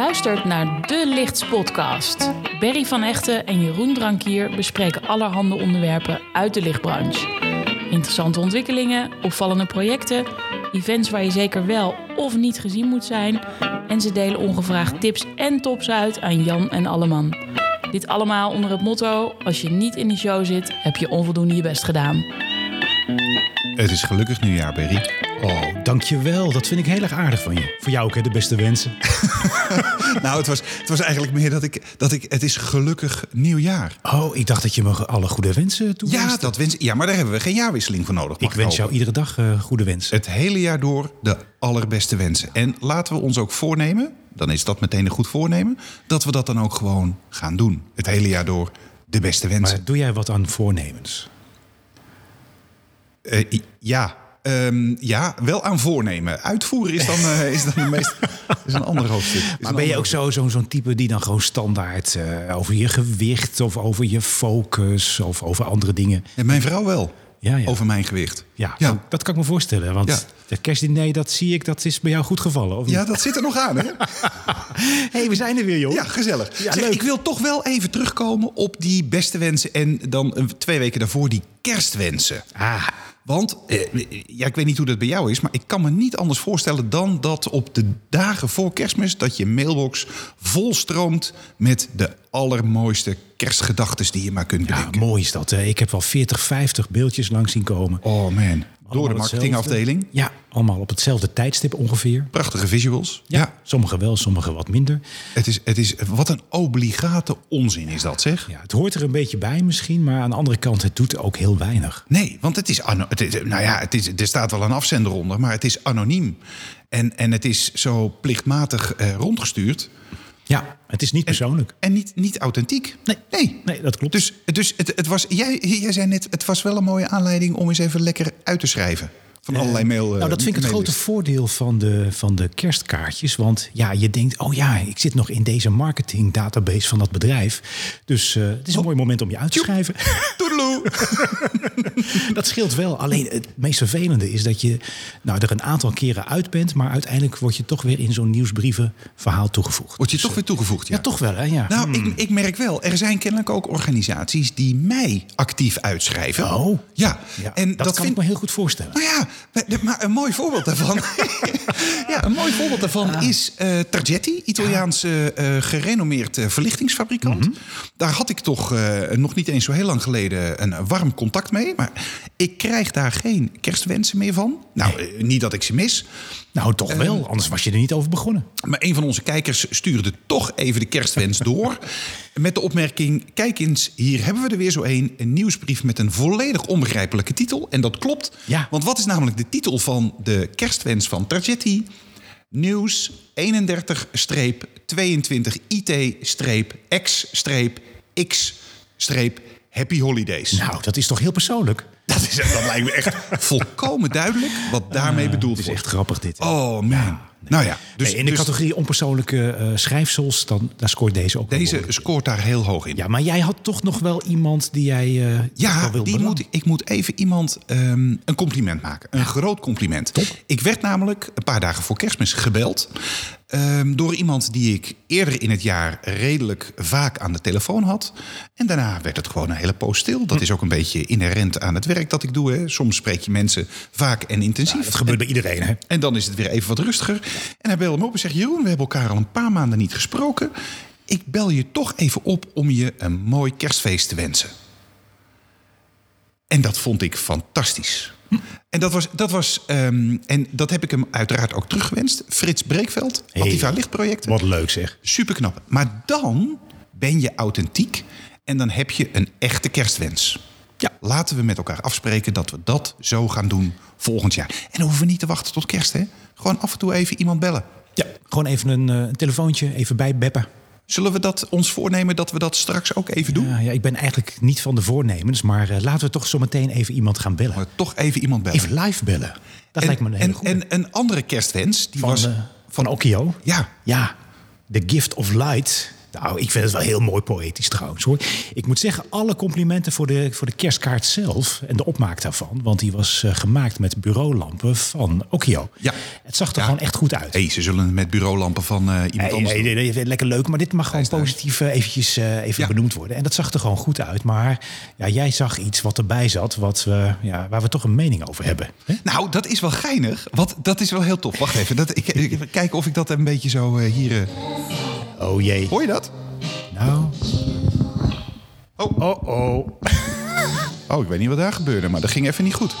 naar De Lichts Podcast. Berry van Echten en Jeroen Drankier bespreken allerhande onderwerpen uit de lichtbranche. Interessante ontwikkelingen, opvallende projecten, events waar je zeker wel of niet gezien moet zijn. En ze delen ongevraagd tips en tops uit aan Jan en Alleman. Dit allemaal onder het motto: als je niet in de show zit, heb je onvoldoende je best gedaan. Het is gelukkig nieuwjaar, Berry. Oh, dankjewel. Dat vind ik heel erg aardig van je. Voor jou ook, hè, de beste wensen. nou, het was, het was eigenlijk meer dat ik, dat ik... Het is gelukkig nieuwjaar. Oh, ik dacht dat je me alle goede wensen toewenste. Ja, dat wens, ja, maar daar hebben we geen jaarwisseling voor nodig. mag ik wens jou hopen. iedere dag eh, goede wensen. Het hele jaar door de allerbeste wensen. En laten we ons ook voornemen, dan is dat meteen een goed voornemen... dat we dat dan ook gewoon gaan doen. Het hele jaar door de beste wensen. Maar doe jij wat aan voornemens? Eh, i- ja. Ehm, ja, wel aan voornemen. Uitvoeren is dan, eh, is dan de meest... is een ander hoofdstuk. Is Maar een ben je ander ook zo'n zo, zo'n type die dan gewoon standaard eh, over je gewicht of over je focus of over andere dingen? Ja, mijn vrouw wel. Ja, ja. Over mijn gewicht. Ja, ja. dat kan ik me voorstellen. Want Ja. het kerstdiner, dat zie ik, dat is bij jou goed gevallen. Of Ja, niet? dat zit er nog aan, hè? hey, we zijn er weer, joh. Ja, gezellig. Ja, Zeg, leuk. ik wil toch wel even terugkomen op die beste wensen en dan eh, twee weken daarvoor die kerstwensen. Ah, Want, eh, ja, ik weet niet hoe dat bij jou is, maar ik kan me niet anders voorstellen dan dat op de dagen voor kerstmis dat je mailbox volstroomt met de allermooiste kerstgedachten die je maar kunt ja, bedenken. mooi is dat. hè. Ik heb wel 40, 50 beeldjes langs zien komen. oh man, door de Allemaal marketingafdeling. hetzelfde. Ja, allemaal op hetzelfde tijdstip ongeveer. Prachtige visuals. Ja. Sommige wel, sommige wat minder. Het is, het is, wat een obligate onzin is dat, zeg. Ja, het hoort er een beetje bij misschien, maar aan de andere kant, het doet ook heel weinig. Nee, want het is, ano- het is nou ja, het is, er staat wel een afzender onder, maar het is anoniem. En, en het is zo plichtmatig eh, rondgestuurd Ja, het is niet persoonlijk. en niet, niet authentiek. Nee. nee. Nee, dat klopt. Dus, dus het, het was, jij, jij zei net, het was wel een mooie aanleiding om eens even lekker uit te schrijven. Van allerlei mail. eh, nou, dat vind ik het grote maillijst. voordeel van de, van de kerstkaartjes. Want ja, je denkt, oh ja, ik zit nog in deze marketing database van dat bedrijf. Dus eh, het is Oh. een mooi moment om je uit te schrijven. Toedeloe. Dat scheelt wel. Alleen het meest vervelende is dat je nou, er een aantal keren uit bent. Maar uiteindelijk word je toch weer in zo'n nieuwsbrieven verhaal toegevoegd. Word je toch weer toegevoegd, ja. Ja, toch Hmm. wel, hè? Ja. Nou, ik, ik merk wel, er zijn kennelijk ook organisaties die mij actief uitschrijven. Oh. Ja, Ja, en dat, dat, kan vind ik me heel goed voorstellen. Nou ja, we- maar een mooi voorbeeld daarvan. ja, een mooi voorbeeld daarvan is eh Targetti, Italiaanse eh, gerenommeerd eh, verlichtingsfabrikant. Daar had ik toch eh, nog niet eens zo heel lang geleden een eh, warm contact mee. Maar ik krijg daar geen kerstwensen meer van. Nou, eh, niet dat ik ze mis. Nou, toch Ehm, wel. Anders was je er niet over begonnen. Maar een van onze kijkers stuurde toch even de kerstwens door. Met de opmerking: Kijk eens, hier hebben we er weer zo een. Een nieuwsbrief met een volledig onbegrijpelijke titel. En dat klopt. Ja. Want wat is namelijk de titel van de kerstwens van Targetti? Nieuws 31-22 IT-X-X Happy Holidays. Nou, dat is toch heel persoonlijk? Dat, is, dat lijkt me echt volkomen duidelijk wat daarmee bedoeld Eh, Het is wordt. echt grappig dit. hè? Oh man. Nou ja, dus, Nee, in de dus categorie onpersoonlijke eh, schrijfsels, dan, daar scoort deze ook wel deze behoorlijk. scoort daar heel hoog in. Ja, maar jij had toch nog wel iemand die jij eh, Ja, wel wil die bedanken. moet, ik moet even iemand ehm, een compliment maken. Een groot compliment. Ik werd namelijk een paar dagen voor kerstmis gebeld... ehm, door iemand die ik eerder in het jaar redelijk vaak aan de telefoon had. En daarna werd het gewoon een hele poos stil. Hm. Dat is ook een beetje inherent aan het werk dat ik doe. Hè. Soms spreek je mensen vaak en intensief. Dat gebeurt bij iedereen, hè? En dan is het weer even wat rustiger. En hij belde me op en zegt: Jeroen, we hebben elkaar al een paar maanden niet gesproken. Ik bel je toch even op om je een mooi kerstfeest te wensen. En dat vond ik fantastisch. En dat was, dat was ehm, en dat heb ik hem uiteraard ook teruggewenst. Frits Breekveld, Activa Lichtprojecten. Wat leuk zeg. Super knap. Maar dan ben je authentiek en dan heb je een echte kerstwens. Ja. Laten we met elkaar afspreken dat we dat zo gaan doen volgend jaar. En dan hoeven we niet te wachten tot kerst, hè? Gewoon af en toe even iemand bellen. Ja, gewoon even een eh, een telefoontje, even bijbeppen. Zullen we dat ons voornemen dat we dat straks ook even doen? Ja, ja, ik ben eigenlijk niet van de voornemens, maar eh, laten we toch zometeen even iemand gaan bellen. Maar toch even iemand bellen. Even live bellen. Dat en, lijkt me een hele en, goede. en een andere kerstwens, die van, was... eh, van Okio. ja, Ja, The Gift of Light. Nou, ik vind het wel heel mooi poëtisch trouwens hoor. Ik moet zeggen, alle complimenten voor de, voor de kerstkaart zelf en de opmaak daarvan. Want die was eh, gemaakt met bureaulampen van Okio. Ja. Het zag er gewoon echt goed uit. Hé, hey, ze zullen het met bureaulampen van eh, iemand Nee, anders nee, doen. nee, nee, lekker leuk, maar dit mag gewoon Wijsneus. positief eh, eventjes eh, even Ja. benoemd worden. En dat zag er gewoon goed uit. Maar ja, jij zag iets wat erbij zat, wat we, ja, waar we toch een mening over hebben. hè? Nou, dat is wel geinig, want dat is wel heel tof. Wacht even, dat, ik, ik- even kijken of ik dat een beetje zo eh, hier... eh, Oh jee. hoor je dat? Nou, Oh, oh. Oh, ik weet niet wat daar gebeurde, maar dat ging even niet goed.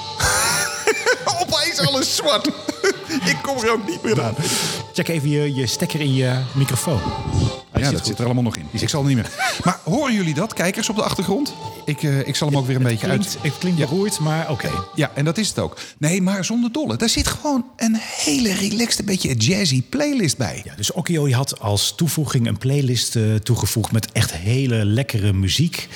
Opeens alles zwart. ik kom er ook niet meer aan. check even je, je stekker in je microfoon. Hij Ja, zit dat goed. zit er allemaal nog in. Dus ik zal er niet meer. Maar horen jullie dat, kijkers op de achtergrond? Ik, eh, ik zal hem ook weer een beetje klinkt, uit. Het klinkt Ja. beroerd, maar oké. Ja, en dat is het ook. Nee, maar zonder dolle. Daar zit gewoon een hele relaxed, een beetje jazzy playlist bij. Ja, dus Okio die had als toevoeging een playlist eh, toegevoegd met echt hele lekkere muziek.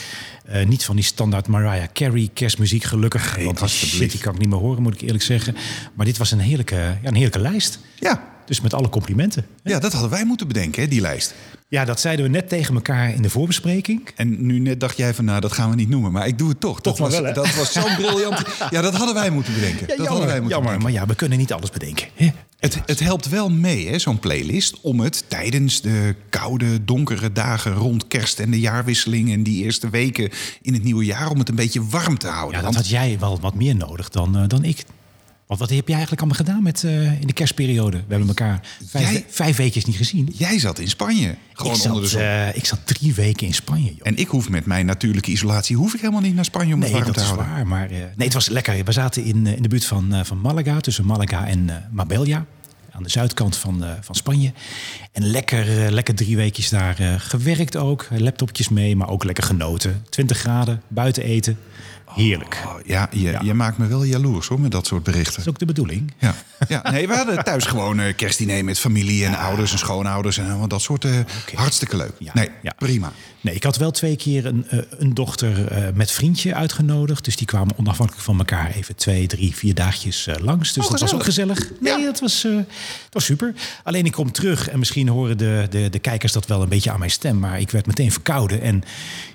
Eh, niet van die standaard Mariah Carey kerstmuziek, gelukkig. want die shit, alstublieft. die kan ik niet meer horen, moet ik eerlijk zeggen. Maar dit was een heerlijke, ja, een heerlijke lijst. Ja, Dus met alle complimenten. ja dat hadden wij moeten bedenken, hè, die lijst. Ja, dat zeiden we net tegen elkaar in de voorbespreking. En nu net dacht jij van, nou, dat gaan we niet noemen. Maar ik doe het toch. Toch dat, maar was, wel, hè? dat was zo'n briljant. Ja, dat hadden wij moeten bedenken. Ja, dat hadden wij moeten jammer, bedenken. maar ja, we kunnen niet alles bedenken. Hè? Het, het helpt wel mee, hè, zo'n playlist, om het tijdens de koude, donkere dagen rond kerst en de jaarwisseling en die eerste weken in het nieuwe jaar, om het een beetje warm te houden. Ja, dat Want- had jij wel wat meer nodig dan, eh, dan ik. Want wat heb jij eigenlijk allemaal gedaan met, eh, in de kerstperiode? We hebben elkaar vijf, Jij- vijf weekjes niet gezien. Jij zat in Spanje, gewoon ik, onder de zat, zon. eh, ik zat drie weken in Spanje, joh. En ik hoef met mijn natuurlijke isolatie, hoef ik helemaal niet naar Spanje om het Nee, warm dat te is houden. waar. Maar eh, nee, het was lekker. We zaten in, eh, in de buurt van, eh, van Malaga, tussen Malaga en eh, Marbella. Aan de zuidkant van, eh, van Spanje. En lekker, eh, lekker drie weekjes daar eh, gewerkt ook. Laptopjes mee, maar ook lekker genoten. 20 graden, buiten eten. Heerlijk. Dat Oh, ja, je, je maakt me wel jaloers hoor, met dat soort berichten. is ook de bedoeling. Ja. ja, nee, we hadden thuis gewoon eh, kerstdiner met familie en ouders en schoonouders en allemaal dat soort. eh, Hartstikke leuk. Ja, nee, ja. prima. Nee, ik had wel twee keer een, eh, een dochter eh, met vriendje uitgenodigd. Dus die kwamen onafhankelijk van elkaar even twee, drie, vier dagjes eh, langs. Dus Oh, dat was ook gezellig. Nee, Ja. dat, was, eh, dat was super. Alleen ik kom terug en misschien horen de, de, de kijkers dat wel een beetje aan mijn stem. Maar ik werd meteen verkouden. En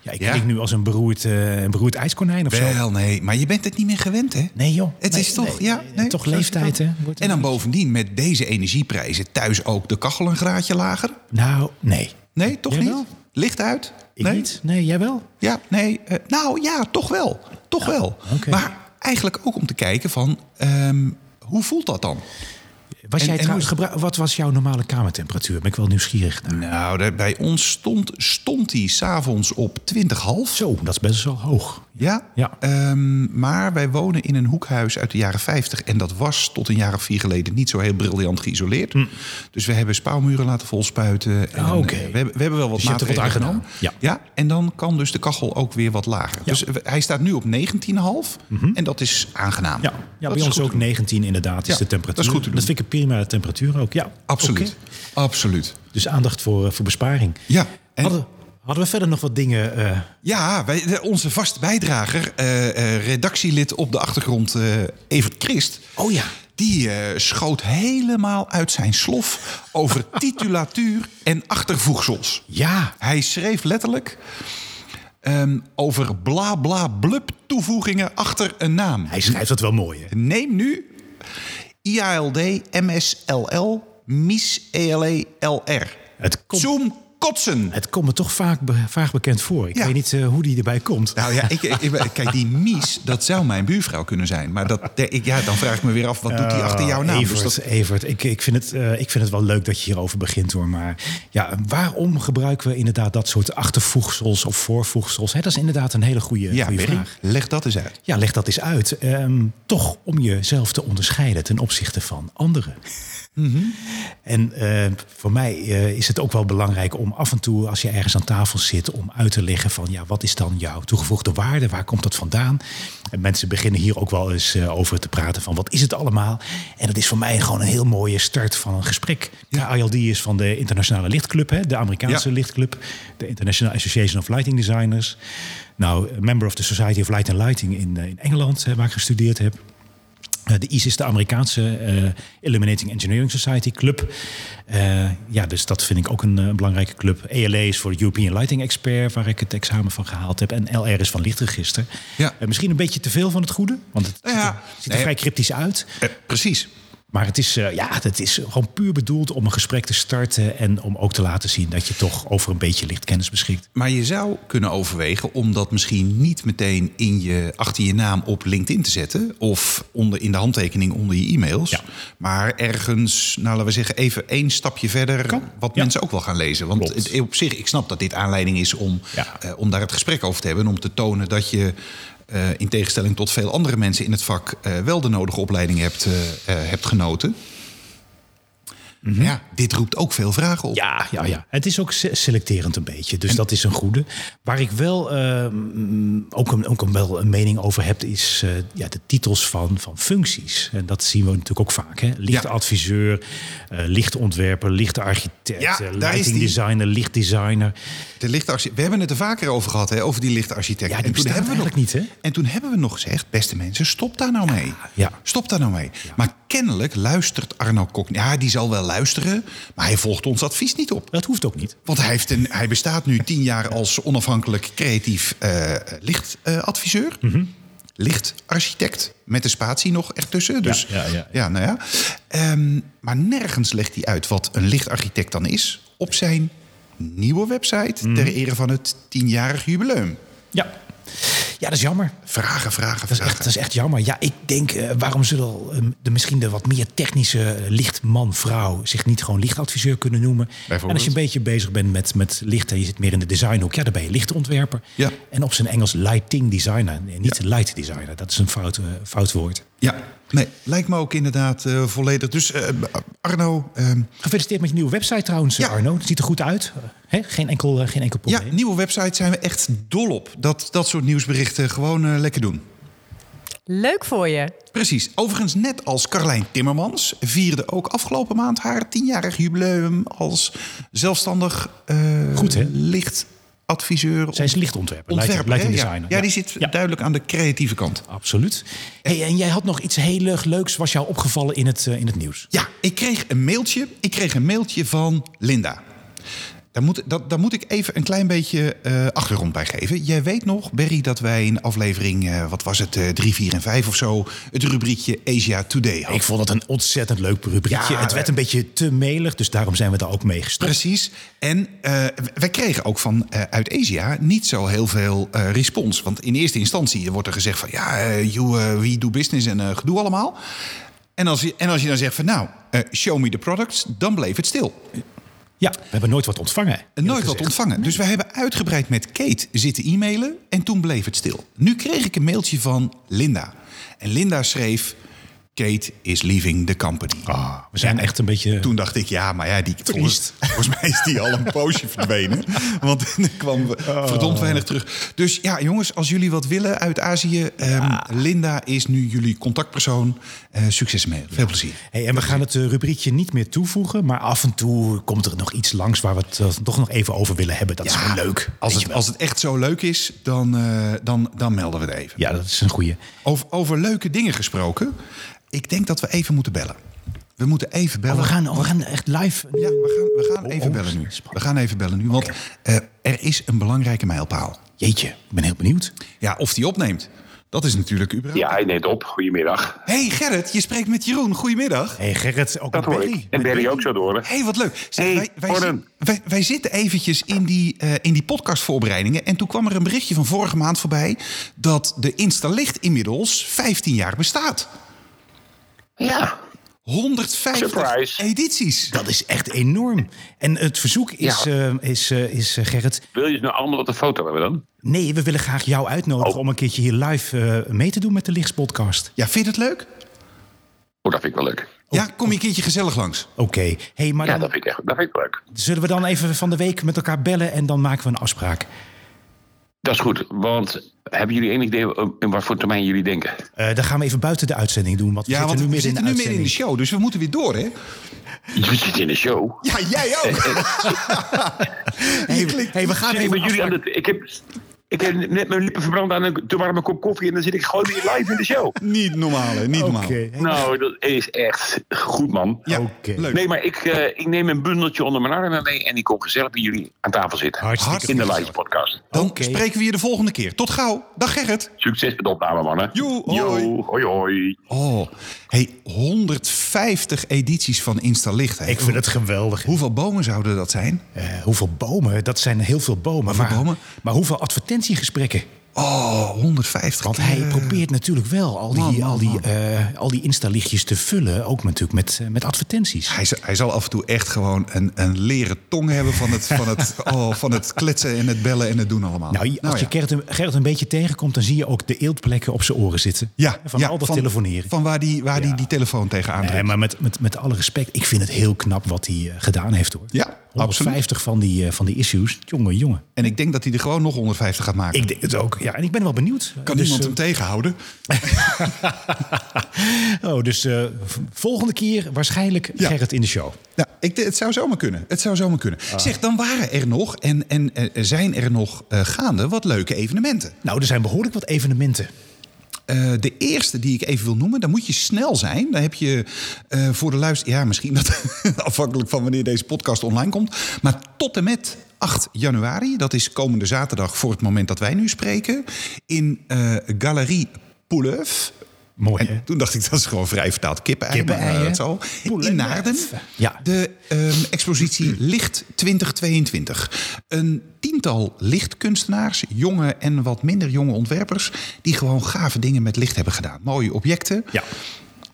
ja, ik Ja? klink nu als een beroerd, eh, een beroerd ijskonijn of zo. Wel, nee, maar je bent het niet meer gewend, hè? Nee joh. Het Nee, is toch, nee, ja, nee, nee, toch zo is het leeftijd, ook. hè? Wordt- En dan bovendien met deze energieprijzen thuis ook de kachel een graadje lager? Nou, nee. Nee, toch Jij niet? wel? Licht uit? Ik nee? niet. Nee, jij wel? Ja, nee. eh, nou ja, toch wel. Toch wel. oké. Maar eigenlijk ook om te kijken van, ehm, hoe voelt dat dan? Was En- jij en trouwens gebru- wat was jouw normale kamertemperatuur? Ben ik wel nieuwsgierig naar. Nou, daar- bij ons stond, stond die s'avonds op 20 half. Zo, dat is best wel hoog. Ja, Ja. Ehm, maar wij wonen in een hoekhuis uit de jaren 50. En dat was tot een jaar of vier geleden niet zo heel briljant geïsoleerd. Dus we hebben spouwmuren laten volspuiten. En, Hm. Ah, oké. eh, we, hebben, we hebben wel wat Dus je hebt er wat maatregelen aan genomen. gedaan. en dan kan dus de kachel ook weer wat lager. Dus eh, hij staat nu op 19,5. En dat is aangenaam. Mhm. Ja, ja Dat bij is ons goed ook 19 inderdaad is Ja, de temperatuur. dat is goed te doen. vind ik een prima temperatuur ook, ja. Absoluut. Oké. Absoluut. Dus aandacht voor, eh, voor besparing. Ja. En, Hadden, hadden we verder nog wat dingen? eh, Ja, wij, de- onze vast bijdrager, eh, eh, redactielid op de achtergrond, eh Evert Christ. Oh ja. Die eh, schoot helemaal uit zijn slof over titulatuur en achtervoegsels. ja, Hij schreef letterlijk ehm, over bla bla blub toevoegingen achter een naam. hij schrijft dat wel mooi. Hè? Neem nu IALD, MSLL, MIS, ELE, LR. Het komt E Zoom kotsen. het komt me toch vaak be- vaag bekend voor. Ik Ja. weet niet eh, hoe die erbij komt. Nou ja, ik, ik- kijk, die Mies, dat zou mijn buurvrouw kunnen zijn. Maar dat, ik, ja, dan vraag ik me weer af, wat doet die achter jouw naam? Dus Oh, Eh, Evert, dat- Evert ik, ik, vind het, eh, ik vind het wel leuk dat je hierover begint hoor. Maar ja, waarom gebruiken we inderdaad dat soort achtervoegsels of voorvoegsels? Hè, dat is inderdaad een hele goede, ja, goede Berry, vraag. leg dat eens uit. Ja, leg dat eens uit. Ehm, toch om jezelf te onderscheiden ten opzichte van anderen. En eh, voor mij eh, is het ook wel belangrijk om af en toe, als je ergens aan tafel zit, om uit te leggen van ja, wat is dan jouw toegevoegde waarde? Waar komt dat vandaan? En mensen beginnen hier ook wel eens eh, over te praten van wat is het allemaal? En dat is voor mij gewoon een heel mooie start van een gesprek. Ja. ILD is van de Internationale Lichtclub, hè, de Amerikaanse Ja. lichtclub, de International Association of Lighting Designers. Nou, member of the Society of Light and Lighting in, eh, in Engeland, hè, waar ik gestudeerd heb. Eh, De IS is de Amerikaanse eh, Illuminating Engineering Society Club. Eh, ja, dus dat vind ik ook een eh, belangrijke club. ELA is voor de European Lighting Expert, waar ik het examen van gehaald heb. En LR is van lichtregister. Ja. Eh, misschien een beetje te veel van het goede, want het Nou ja, ziet er, ziet er nee. vrij cryptisch uit. Eh, precies. Maar het is, eh, ja, het is gewoon puur bedoeld om een gesprek te starten... en om ook te laten zien dat je toch over een beetje lichtkennis beschikt. Maar je zou kunnen overwegen om dat misschien niet meteen in je, achter je naam op LinkedIn te zetten. Of onder, in de handtekening onder je e-mails. Ja. Maar ergens, nou laten we zeggen, even één stapje verder. Kan. Wat Ja. mensen ook wel gaan lezen. Want Klopt. het, op zich, ik snap dat dit aanleiding is om, Ja. eh, om daar het gesprek over te hebben. En om te tonen dat je. eh, in tegenstelling tot veel andere mensen in het vak eh, wel de nodige opleiding hebt, eh, eh, hebt genoten. Maar Ja, dit roept ook veel vragen op. Mhm. Ja, ja, ja. Het is ook se- selecterend een beetje. Dus dat is een goede. Waar ik wel eh, mm, ook, een, ook een, wel een mening over heb, is eh, ja, de titels van, van functies. En dat zien we natuurlijk ook vaak. Hè? Lichtadviseur, eh, lichtontwerper, lichtarchitect, Ja, eh, daar is lightingdesigner, lichtdesigner. De lichtarchi- we hebben het er vaker over gehad, hè, over die lichtarchitect. Ja, die toen bestaan hebben we nog, eigenlijk niet, hè? En toen hebben we nog gezegd, beste mensen, stop daar nou mee. ja. Stop daar nou mee. Maar kennelijk luistert Arno Kok... Ja, die zal wel luisteren, maar hij volgt ons advies niet op. Dat hoeft ook niet. Want hij, heeft een, hij bestaat nu tien jaar als onafhankelijk creatief eh, lichtadviseur. Mhm. Lichtarchitect, met de spatie nog ertussen. Dus, ja, ja. nou ja. Ehm, maar nergens legt hij uit wat een lichtarchitect dan is... op zijn nieuwe website Mhm. ter ere van het tienjarig jubileum. Ja, ja dat is jammer. Vragen, vragen, Dat is, vragen. echt, dat is echt jammer. Ja, ik denk, eh, waarom zullen eh, de, misschien de wat meer technische lichtman-vrouw zich niet gewoon lichtadviseur kunnen noemen? En als je een beetje bezig bent met, met licht en je zit meer in de designhoek, ja, dan ben je lichtontwerper. Ja. En op zijn Engels lighting designer, nee, niet light designer. Dat is een fout, eh, fout woord. Ja, nee, lijkt me ook inderdaad eh, volledig. Dus eh, Arno, ehm, Gefeliciteerd met je nieuwe website trouwens, Ja. Arno. Het ziet er goed uit. Eh, Hè? Geen, enkel, eh, geen enkel ja, probleem. nieuwe website zijn we echt dol op. Dat, dat soort nieuwsberichten gewoon eh, lekker doen. Leuk voor je. Precies. Overigens, net als Carlijn Timmermans vierde ook afgelopen maand haar tienjarig jubileum als zelfstandig eh, Goed, hè? lichtadviseur. Zij is lichtontwerper, ontwerper. lighting hè? Ja. designer. Ja, die zit Ja. duidelijk aan de creatieve kant. Absoluut. Hey, en jij had nog iets heel erg leuks, was jou opgevallen in het, eh, in het nieuws. Ja, ik kreeg een mailtje. Ik kreeg een mailtje van Linda. Daar moet, dat, daar moet ik even een klein beetje eh, achtergrond bij geven. Jij weet nog, Berry, dat wij in aflevering, eh, wat was het, eh 3, 4 en 5 of zo, het rubriekje Asia Today hadden. Ik vond het een ontzettend leuk rubriekje. Ja, het werd een beetje te melig, dus daarom zijn we daar ook mee gestopt. Precies. En eh, wij kregen ook van eh, uit Asia niet zo heel veel eh, respons. Want in eerste instantie wordt er gezegd van ja, eh, you, eh, we do business en eh, gedoe allemaal. En als, je, en als je dan zegt van nou, eh, show me the products, dan bleef het stil. Ja, we hebben nooit wat ontvangen. En nooit eerlijk wat gezegd. ontvangen. Dus wij hebben uitgebreid met Kate zitten e-mailen en toen bleef het stil. Nu kreeg ik een mailtje van Linda. En Linda schreef: Kate is leaving the company. Ah, we zijn echt een beetje... Toen dacht ik, ja, maar ja, die, volgens, volgens mij is die al een poosje verdwenen. Want er kwam Oh. verdomd weinig terug. Dus ja, jongens, als jullie wat willen uit Azië... ehm, Linda is nu jullie contactpersoon. Eh, succes ermee. Veel plezier. Hey, en we gaan het eh, rubriekje niet meer toevoegen, maar af en toe komt er nog iets langs waar we het eh, toch nog even over willen hebben. Dat is Ja, wel leuk. Als weet het, je wel. als het echt zo leuk is, dan, eh, dan, dan melden we het even. Ja, dat is een goeie. Over, over leuke dingen gesproken. Ik denk dat we even moeten bellen. We moeten even bellen. Oh, we, gaan, we gaan echt live... Ja, we gaan, we gaan Oh, even oh, bellen nu. spannend. We gaan even bellen nu, want eh, er is een belangrijke mijlpaal. Jeetje, ik ben heel benieuwd. Ja, of die opneemt. Dat is natuurlijk überhaupt... Ja, hij neemt op. Goedemiddag. hey Gerrit, je spreekt met Jeroen. Goedemiddag. hey, Gerrit, ook Dat met hoor Berry. ik. En Berry ook zo door. hè? hey, wat leuk. Zeg, Hey, wij, wij, Gordon. zi- wij, wij zitten eventjes in die, eh, in die podcastvoorbereidingen. En toen kwam er een berichtje van vorige maand voorbij... dat de Instalicht inmiddels 15 jaar bestaat. Ja. 150 Surprise. edities. Dat is echt enorm. En het verzoek is, eh, is, eh, is eh, Gerrit, Wil je ze nou allemaal op de foto hebben dan? Nee, we willen graag jou uitnodigen Oh. om een keertje hier live eh, mee te doen met de Lichtspodcast. Ja, vind je het leuk? Oh, dat vind ik wel leuk. Ja, kom je een keertje gezellig langs. Oké, hey, maar Ja, dan dat vind ik echt dat vind ik leuk. zullen we dan even van de week met elkaar bellen en dan maken we een afspraak. Dat is goed, want hebben jullie enig idee om- in wat voor termijn jullie denken? Eh dan gaan we even buiten de uitzending doen, want we Ja, zitten want we nu midden in zitten de nu midden in de show, uitzending. dus we moeten weer door, hè? Je zit in de Ah, show. Ja, jij ook. hey, hey, we gaan Zit ik even met jullie aan afspraak- de, ik heb, Ik heb net mijn lippen verbrand aan een te warme kop koffie. En dan zit ik gewoon weer live in de show. Niet normaal, hè? Niet normaal. Nou, dat is echt goed, man. Ja, Oké. leuk. Nee, maar ik, eh, ik neem een bundeltje onder mijn arm en mee. En ik kom gezellig bij jullie aan tafel zitten. Hartstikke in de gezellig. live podcast. Dan Oké. spreken we je de volgende keer. Tot gauw. Dag Gerrit. Succes met de opname, mannen. Joe, hoi. Yo, hoi, hoi. Oh, hey, 150 edities van Insta Licht. hè. Nou. Ik vind het geweldig. Hoeveel bomen zouden dat zijn? Eh, hoeveel bomen? Dat zijn heel veel bomen. Hoeveel maar, bomen? maar hoeveel advertentiegesprekken? Oh, 150. Want hij keer, eh, probeert natuurlijk wel al die, man, man, al die, man. eh, al die Insta-lichtjes te vullen. Ook natuurlijk met, eh, met advertenties. Hij, zal- hij zal af en toe echt gewoon een, een leren tong hebben van het, van, het, oh, van het kletsen en het bellen en het doen allemaal. Nou, als je ja. Gerrit een, Gerrit een beetje tegenkomt, dan zie je ook de eeltplekken op zijn oren zitten. Ja, van ja, al dat telefoneren. Van waar die, waar die, die telefoon tegenaan Nee, drukt. maar met, met, met alle respect, ik vind het heel knap wat hij eh, gedaan heeft hoor. Ja, 150 van die, eh, van die issues. Jongen, jongen. En ik denk dat hij er gewoon nog 150 gaat maken. Ik denk het ook. Ja, en ik ben wel benieuwd. kan Dus, niemand hem tegenhouden? eh, oh, dus eh, v- volgende keer waarschijnlijk Ja. Gerrit in de show. Nou, ik, het zou zomaar kunnen. Het zou zomaar kunnen. Zeg, dan waren er nog en, en eh, zijn er nog eh, gaande wat leuke evenementen. Nou, er zijn behoorlijk wat evenementen. Eh, de eerste die ik even wil noemen, dan moet je snel zijn. Dan heb je eh, voor de luister... Ja, misschien dat afhankelijk van wanneer deze podcast online komt. Maar tot en met 8 januari, dat is komende zaterdag voor het moment dat wij nu spreken... in eh, Galerie Pouleuf. Mooi, hè? En toen dacht ik, dat is gewoon vrij vertaald kippen-eieren. Kippen-ei, hè? het zal. Pouleuf. In Naarden. Ja. De ehm, expositie Licht 2022. Een tiental lichtkunstenaars, jonge en wat minder jonge ontwerpers... die gewoon gave dingen met licht hebben gedaan. Mooie objecten. Ja.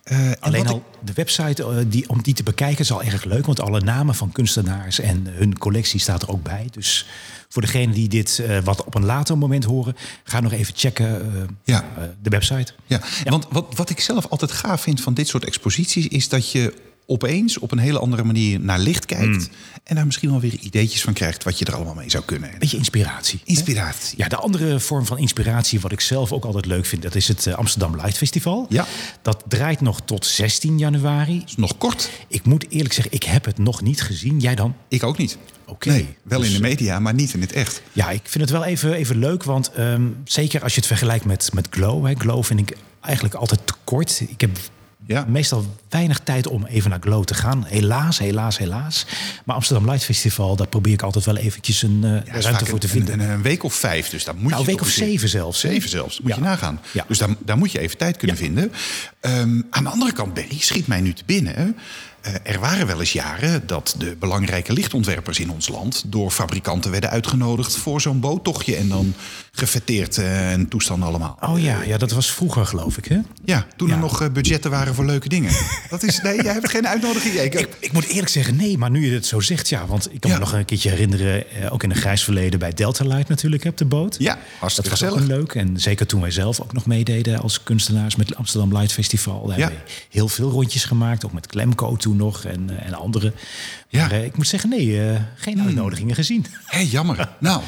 Eh, en Alleen wat al de website eh, die, om die te bekijken is al erg leuk. Want alle namen van kunstenaars en hun collectie staat er ook bij. Dus voor degenen die dit eh, wat op een later moment horen, ga nog even checken eh, Ja. eh, de website. Ja, want wat, wat ik zelf altijd gaaf vind van dit soort exposities... is dat je opeens op een hele andere manier naar licht kijkt... Hmm. en daar misschien wel weer ideetjes van krijgt... wat je er allemaal mee zou kunnen. Beetje inspiratie. hè? Inspiratie. Ja, de andere vorm van inspiratie, wat ik zelf ook altijd leuk vind, dat is het eh, Amsterdam Light Festival. Ja. Dat draait nog tot 16 januari. Is nog kort? Ik moet eerlijk zeggen, ik heb het nog niet gezien. Jij dan? Ik ook niet. Oké. Nee, wel Dus, in de eh, media, maar niet in het echt. Ja, ik vind het wel even, even leuk, want ehm, zeker als je het vergelijkt met, met Glow. Hè, Glow vind ik eigenlijk altijd te kort. Ik heb Ja. meestal weinig tijd om even naar Glow te gaan. Helaas, helaas, helaas. Maar Amsterdam Light Festival, daar probeer ik altijd wel eventjes een eh, Ja, is ruimte vaak voor te een- vinden. Een, een week of vijf, dus daar moet nou, je een week toch of eens in- zeven zelfs. hè? Zeven zelfs, moet je Ja. nagaan. Ja. Dus daar, daar moet je even tijd kunnen Ja. vinden. Ehm, aan de andere kant, Berry, schiet mij nu te binnen. Eh, er waren wel eens jaren dat de belangrijke lichtontwerpers in ons land... door fabrikanten werden uitgenodigd voor zo'n boottochtje... en dan gefeteerd eh, en toestanden allemaal. Oh ja, ja, dat was vroeger geloof ik. Hè? Ja, toen Ja. er nog eh, budgetten waren voor leuke dingen. Dat is, nee, jij hebt geen uitnodiging. Ja, ik- Ik, ik moet eerlijk zeggen, nee, maar nu je het zo zegt, ja. Want ik kan Ja. me nog een keertje herinneren, eh, ook in een grijs verleden bij Delta Light natuurlijk, hè, op de boot. Ja, hartstikke Dat was ook gezellig. een leuk. En zeker toen wij zelf ook nog meededen als kunstenaars met het Amsterdam Light Festival. Daar Ja. hebben we heel veel rondjes gemaakt, ook met Klemco toen nog en, eh, en anderen. Ja. Maar eh, ik moet zeggen, nee, eh, geen uitnodigingen gezien. Hé, jammer. Nou,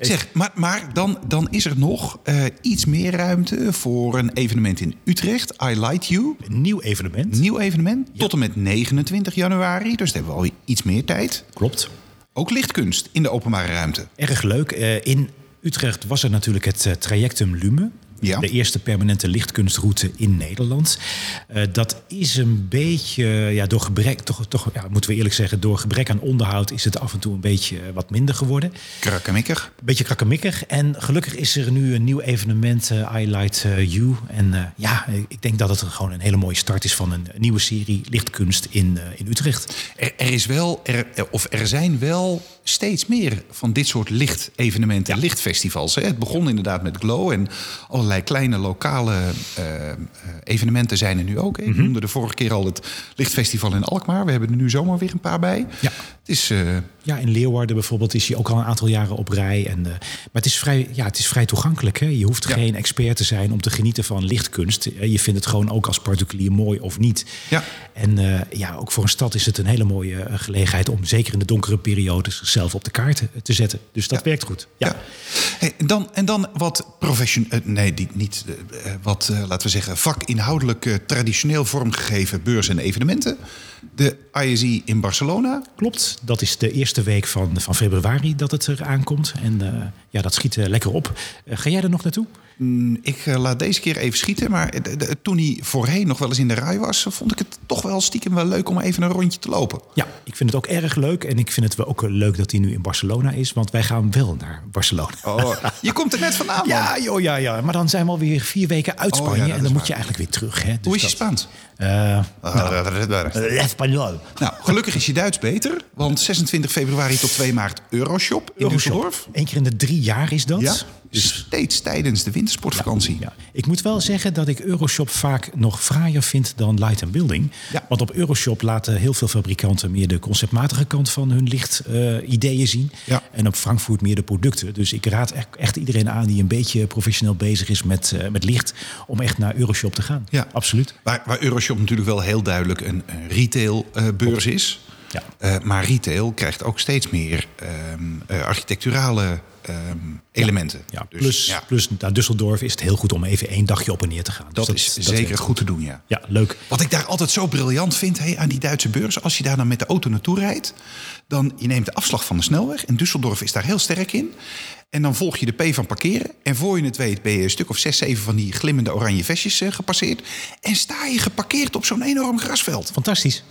zeg, maar, maar dan, dan is er nog eh, iets meer ruimte voor een evenement in Utrecht. I Light You. Een nieuw evenement. Nieuw evenement. Tot en met 29 januari. Dus daar hebben we alweer iets meer tijd. Klopt. Ook lichtkunst in de openbare ruimte. Erg leuk. Eh, in Utrecht was er natuurlijk het eh, trajectum Lume. Ja. De eerste permanente lichtkunstroute in Nederland. Eh, dat is een beetje, eh, ja, door gebrek, toch, toch ja, moeten we eerlijk zeggen, door gebrek aan onderhoud is het af en toe een beetje eh, wat minder geworden. Krakkemikker. Een beetje krakkemikkig. En gelukkig is er nu een nieuw evenement, eh, I Light eh, You. En eh, ja, eh, ik denk dat het gewoon een hele mooie start is van een nieuwe serie lichtkunst in, eh, in Utrecht. Er, er is wel, er, er- of er zijn wel steeds meer van dit soort lichtevenementen, lichtfestivals. Hè? Het begon inderdaad met Glow en allerlei kleine lokale eh, eh, evenementen zijn er nu ook. Hè? Ik noemde de vorige keer al het lichtfestival in Alkmaar. We hebben er nu zomaar weer een paar bij. Ja. Het is, eh, Ja, in Leeuwarden bijvoorbeeld is hij ook al een aantal jaren op rij. En, eh, maar het is vrij, ja, het is vrij toegankelijk. Hè? Je hoeft Ja. geen expert te zijn om te genieten van lichtkunst. Eh, Je vindt het gewoon ook als particulier mooi of niet. Ja. En eh, ja, ook voor een stad is het een hele mooie eh, gelegenheid om zeker in de donkere periodes zichzelf op de kaart te zetten. Dus dat Ja. werkt goed. Ja. Ja. Hey, en, dan, en dan wat professioneel, nee, die, niet eh, eh, wat, eh, laten we zeggen, vakinhoudelijk eh, traditioneel vormgegeven beurzen en evenementen. De ISE in Barcelona. Klopt, dat is de eerste week van, van februari dat het er aankomt. En eh, ja, dat schiet eh, lekker op. Eh, ga jij er nog naartoe? Mm, Ik eh, laat deze keer even schieten, maar eh, de- de- toen hij voorheen nog wel eens in de rij was, eh, vond ik het toch wel stiekem wel leuk om even een rondje te lopen. Ja, ik vind het ook erg leuk. En ik vind het wel ook eh, leuk dat hij nu in Barcelona is. Want wij gaan wel naar Barcelona. Oh, je komt er net vandaan, man. Ja, joh, ja, ja. Maar dan zijn we alweer vier weken uit Oh, ja, Spanje. dat en is dan moet waar. je eigenlijk weer terug. Hè? Dus Hoe is je dat- Spaans? Eh, Espanyol. Nou, gelukkig is je Duits beter, want 26 februari tot 2 maart Euroshop in Düsseldorf. Eén keer in de drie jaar is dat. Ja, steeds tijdens de wintersportvakantie. Ja. Ik moet wel zeggen dat ik Euroshop vaak nog fraaier vind dan Light and Building. Ja. Want op Euroshop laten heel veel fabrikanten meer de conceptmatige kant van hun lichtideeën zien. Ja. En op Frankfurt meer de producten. Dus ik raad echt- echt iedereen aan die een beetje professioneel bezig is met, eh, met licht. om echt naar Euroshop te gaan. Ja. Absoluut. Waar, waar Euroshop natuurlijk wel heel duidelijk een, een retailbeurs is. Ja. Eh, maar retail krijgt ook steeds meer ehm, eh, architecturale ehm, elementen. Ja, Dus, plus, ja, plus naar Düsseldorf is het heel goed om even één dagje op en neer te gaan. dat, Dus is dat zeker werkt. goed te doen, ja. Ja, leuk. Wat ik daar altijd zo briljant vind hé, aan die Duitse beurs... als je daar dan met de auto naartoe rijdt... dan je neemt de afslag van de snelweg... en Düsseldorf is daar heel sterk in... en dan volg je de P van parkeren... en voor je het weet ben je een stuk of zes, zeven... van die glimmende oranje vestjes eh, gepasseerd... en sta je geparkeerd op zo'n enorm grasveld. Fantastisch.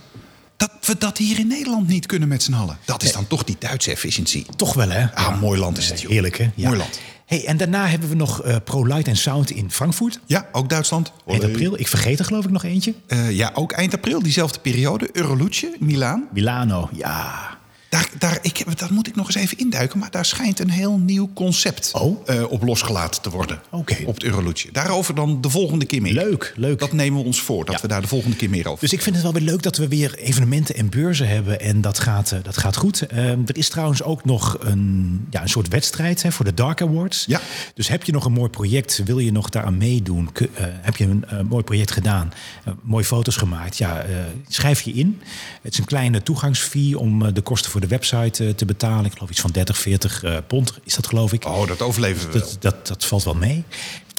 Dat we dat hier in Nederland niet kunnen met z'n allen. Dat is dan toch die Duitse efficiëntie. Toch wel, hè? Ah, mooi land is het, joh. Heerlijk, hè? Mooi land. Hey, en daarna hebben we nog eh, Pro Light and Sound in Frankfurt. Ja, ook Duitsland. Eind april. Ik vergeet er geloof ik nog eentje. Eh, ja, ook eind april, diezelfde periode. Euroluce, Milaan. Milano, ja. Daar, daar, ik, dat moet ik nog eens even induiken, maar daar schijnt een heel nieuw concept Oh. eh, op losgelaten te worden. Oké. Op het Euroluce. Daarover dan de volgende keer meer. Leuk, leuk. Dat nemen we ons voor, dat Ja. we daar de volgende keer meer over. Dus ik vind het wel weer leuk dat we weer evenementen en beurzen hebben. En dat gaat, eh, dat gaat goed. Ehm, er is trouwens ook nog een, ja, een soort wedstrijd hè, voor de Dark Awards. Ja. Dus heb je nog een mooi project? Wil je nog daaraan meedoen? Ku- eh, heb je een eh, mooi project gedaan? eh, mooie foto's gemaakt? Ja, eh, schrijf je in. Het is een kleine toegangsfee om eh, de kosten voor de website eh, te betalen. Ik geloof iets van 30, 40 eh, pond is dat geloof ik. Oh, dat overleven we wel. Dat, dat, dat valt wel mee.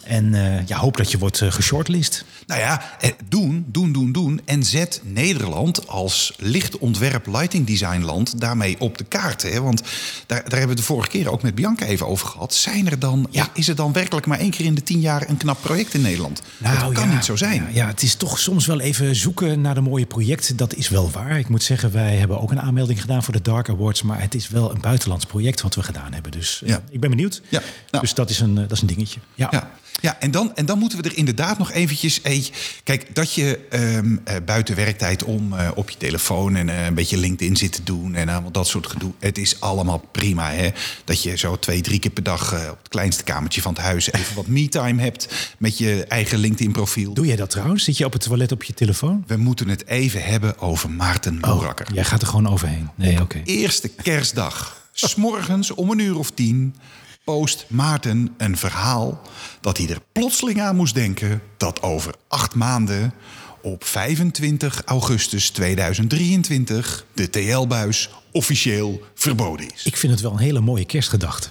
En eh, ja, hoop dat je wordt eh, geshortlist. Nou ja, eh, doen, doen, doen, doen. En zet Nederland als lichtontwerp, lighting design land daarmee op de kaart. Hè? Want daar, daar hebben we het de vorige keer ook met Bianca even over gehad. Zijn er dan, ja. Is er dan werkelijk maar één keer in de tien jaar een knap project in Nederland? dat kan Nou, ja, niet zo zijn. Ja, ja, het is toch soms wel even zoeken naar de mooie projecten. Dat is wel waar. Ik moet zeggen, wij hebben ook een aanmelding gedaan voor de Dark Awards. Maar het is wel een buitenlands project wat we gedaan hebben. Dus eh, Ja. ik ben benieuwd. Ja, nou. Dus dat is, een, eh, dat is een dingetje. Ja. Ja, ja en, dan, en dan moeten we er inderdaad nog eventjes... eh, kijk, dat je ehm, eh, buiten werktijd om eh, op je telefoon... en eh, een beetje LinkedIn zit te doen en allemaal dat soort gedoe... het is allemaal prima, hè. Dat je zo twee, drie keer per dag eh, op het kleinste kamertje van het huis... even wat me-time hebt met je eigen LinkedIn-profiel. Doe jij dat trouwens? Zit je op het toilet op je telefoon? We moeten het even hebben over Maarten Boerakker. Jij gaat er gewoon overheen. Nee, oké. Eerste kerstdag, smorgens om een uur of tien... post Maarten een verhaal dat hij er plotseling aan moest denken... dat over acht maanden op 25 augustus 2023... de TL-buis officieel verboden is. Ik vind het wel een hele mooie kerstgedachte.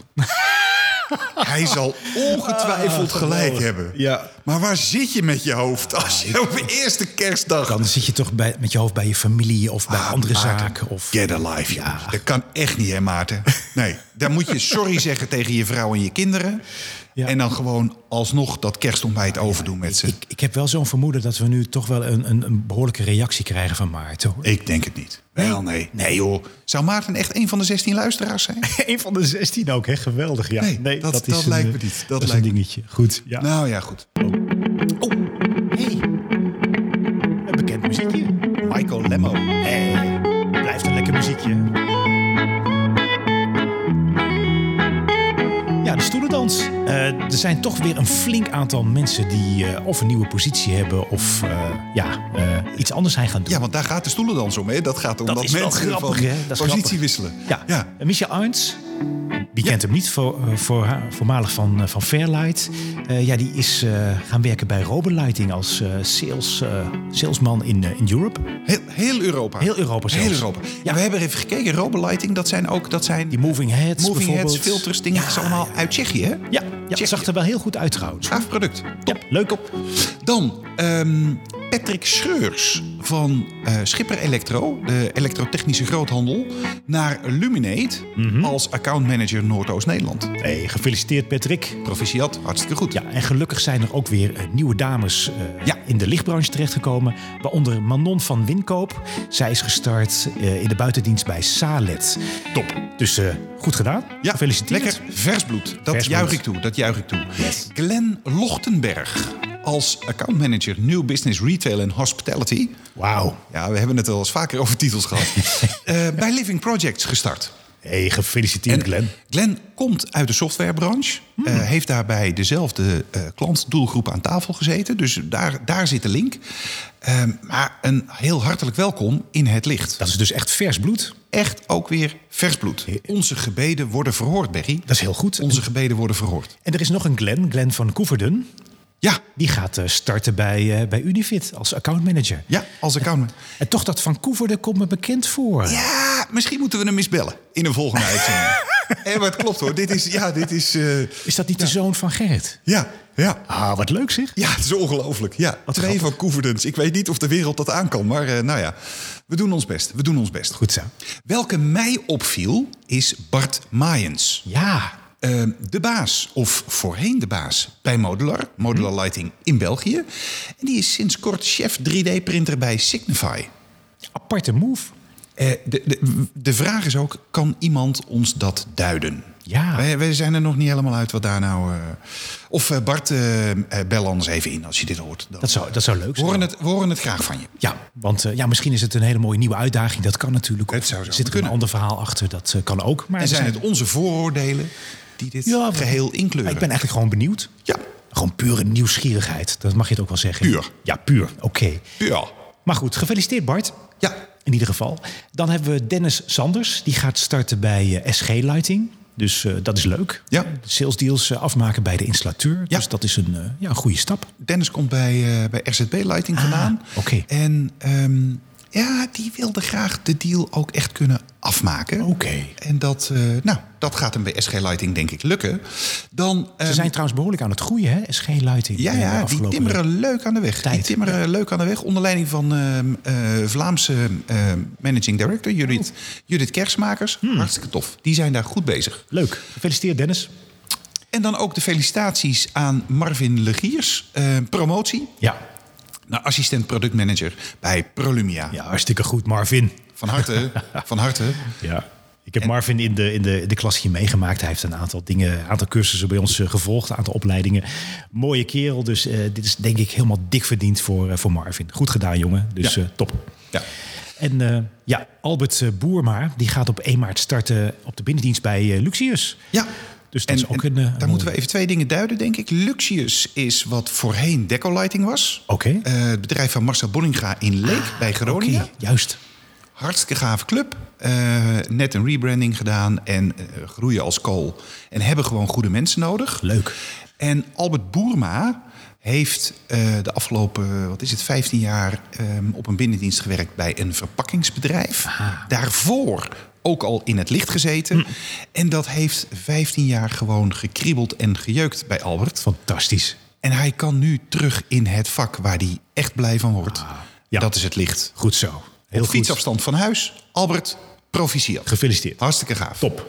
Hij zal ongetwijfeld gelijk hebben. Ah, Ja. Maar waar zit je met je hoofd als je op eerste kerstdag... Dan zit je toch bij, met je hoofd bij je familie of bij andere zaken. Of... Get alive, jongens. Dat kan echt niet, hè, Maarten? Nee, daar moet je sorry zeggen tegen je vrouw en je kinderen. Ja. En dan gewoon alsnog dat kerstontbijt overdoen met ze. Ik, ik heb wel zo'n vermoeden dat we nu toch wel een, een, een behoorlijke reactie krijgen van Maarten. hoor. Ik denk het niet. Wel, nee. Nee, joh. Zou Maarten echt een van de 16 luisteraars zijn? Een van de 16 ook, hè? Geweldig. Ja. Nee, dat- dat een, lijkt me eh, niet. Dat is lijkt me een dingetje. Goed. Ja. Nou ja, goed. oh, hey. Een bekend muziekje. Michael Lemmo. Hey. Blijft een lekker muziekje. Ja, de stoelendans. Eh, er zijn toch weer een flink aantal mensen die eh, of een nieuwe positie hebben of eh, ja, eh, iets anders zijn gaan doen. Ja, want daar gaat de stoelendans om, hè? Dat gaat om dat, is wel mensen grappig, van hè? Dat is positie grappig. wisselen. Ja. ja. En Michel Arends, Die kent hem niet, voor, eh, voor, voormalig van, eh, van Fairlight. Eh, ja, die is eh, gaan werken bij Robolighting als eh, sales, eh, salesman in, eh, in Europe. Heel, heel Europa. Heel Europa zelfs. Ah. Heel Europa. Ja, we hebben even gekeken. Robolighting, dat zijn ook... Dat zijn Die moving heads moving heads, bijvoorbeeld. filters, dingen. dat is allemaal uit Tsjechië, hè? Ja, ja het zag er wel heel goed uit trouwens. Gaaf product. Ja, leuk op. Dan ehm, Patrick Schreurs van eh, Schipper Electro, de elektrotechnische groothandel, naar Luminate Mhm. als accountmanager Noordoost-Nederland. Hey, gefeliciteerd Patrick. Proficiat, hartstikke goed. Ja, en gelukkig zijn er ook weer eh, nieuwe dames eh, Ja. in de lichtbranche terechtgekomen. Waaronder Manon van Winkoop. Zij is gestart eh, in de buitendienst bij Salet. Top. Dus eh, goed gedaan. Ja, gefeliciteerd. Lekker vers bloed. Dat Vers juich bloed. ik toe. Dat juich ik toe. Yes. Glenn Lochtenberg als accountmanager New Business Retail en Hospitality. Wauw. Ja, we hebben het al eens vaker over titels gehad. Eh, bij Living Projects gestart. Hey, gefeliciteerd Glenn. Glenn komt uit de softwarebranche. eh, heeft daarbij dezelfde eh, klantdoelgroep aan tafel gezeten. Dus daar, daar zit de link. Eh, maar een heel hartelijk welkom in het licht. Dat is dus echt vers bloed. Echt ook weer vers bloed. Onze gebeden worden verhoord, Berry. Dat is heel goed. Onze gebeden worden verhoord. En er is nog een Glenn, Glenn van Koeverden. Ja, Die gaat eh, starten bij, eh, bij Unifit als accountmanager. ja als accountant. En toch dat van Koeverden komt me bekend voor. Ja, misschien moeten we hem eens bellen in een volgende uitzending. Eh, maar het klopt hoor. Dit is, ja, dit is... eh, Is dat niet de zoon van Gerrit? ja, ja. Ah, wat leuk zeg. Ja, het is ongelooflijk. Ja, twee grappig. van Coeverdens. Ik weet niet of de wereld dat aan kan, maar eh, nou ja, we doen ons best. We doen ons best. Goed zo. Welke mij opviel is Bart Maaiens. Ja. Eh, de baas, of voorheen de baas, bij Modular, Hm. Modular Lighting in België. En die is sinds kort chef 3D-printer bij Signify. Aparte move. Eh, de, de, de vraag is ook, kan iemand ons dat duiden? Ja. Wij, wij zijn er nog niet helemaal uit wat daar nou... eh, Of eh, Bart, eh, eh, bel anders even in als je dit hoort. Dan- Dat zou, dat zou leuk we zijn. horen, het, we horen het graag van je. Ja, want eh, ja, misschien is het een hele mooie nieuwe uitdaging. Dat kan natuurlijk. Het Of zou zo zit er kunnen. een ander verhaal achter? Dat eh, kan ook. Maar En we zijn het onze vooroordelen die dit Ja, we- geheel inkleuren? Ik ben eigenlijk gewoon benieuwd. Ja, Gewoon pure nieuwsgierigheid. Dat mag je het ook wel zeggen. Puur. Ja, puur. Oké. ja. Maar goed, gefeliciteerd Bart. Ja, In ieder geval. Dan hebben we Dennis Sanders. Die gaat starten bij eh, SG Lighting. Dus eh, dat is leuk. Ja. Sales deals eh, afmaken bij de installateur. Ja. Dus dat is een, eh, ja, een goede stap. Dennis komt bij, eh, bij RZB Lighting vandaan. Ah, oké. En ehm, ja, die wilde graag de deal ook echt kunnen afmaken. Oké. En dat, eh, nou, dat gaat hem bij SG Lighting denk ik lukken. Dan, Ze ehm, zijn trouwens behoorlijk aan het groeien, hè? SG Lighting. ja, eh, de ja, die afgelopen- timmeren leuk aan de weg. Die tijd. timmeren leuk aan de weg. Onder leiding van ehm, eh, Vlaamse ehm, managing director Judith, Oh. Judith Kersmakers. Hmm. Hartstikke tof. Die zijn daar goed bezig. Leuk. Gefeliciteerd Dennis. En dan ook de felicitaties aan Marvin Legiers. eh, promotie Ja. naar assistent productmanager bij Prolumia. Ja, hartstikke goed Marvin. Van harte, van harte. Ja. Ik heb Marvin in de, in, de, in de klas hier meegemaakt. Hij heeft een aantal dingen, een aantal cursussen bij ons eh, gevolgd, een aantal opleidingen. Mooie kerel, dus eh, dit is denk ik helemaal dik verdiend voor, eh, voor Marvin. Goed gedaan, jongen. Dus Ja. eh, top. Ja. En eh, ja, Albert eh, Boerma, die gaat op 1 maart starten op de binnendienst bij eh, Luxius. ja. Dus dat is ook een, eh, daar een moeten we even twee dingen duiden, denk ik. Luxius is wat voorheen Decolighting was. Oké. Eh, het bedrijf van Marcel Bonninga in Leek bij Ah, Oké, Groningen. juist. Hartstikke gave club. Eh, net een rebranding gedaan en eh, groeien als kool. En hebben gewoon goede mensen nodig. Leuk. En Albert Boerma heeft eh, de afgelopen wat is het, 15 jaar eh, op een binnendienst gewerkt bij een verpakkingsbedrijf. Daarvoor ook al in het licht gezeten. En dat heeft 15 jaar gewoon gekriebeld en gejeukt bij Albert. Fantastisch. En hij kan nu terug in het vak waar hij echt blij van wordt. ja. Dat is het licht. Goed zo. Heel Op goed. fietsafstand van huis, Albert, proficiat. Gefeliciteerd. Hartstikke gaaf. Top.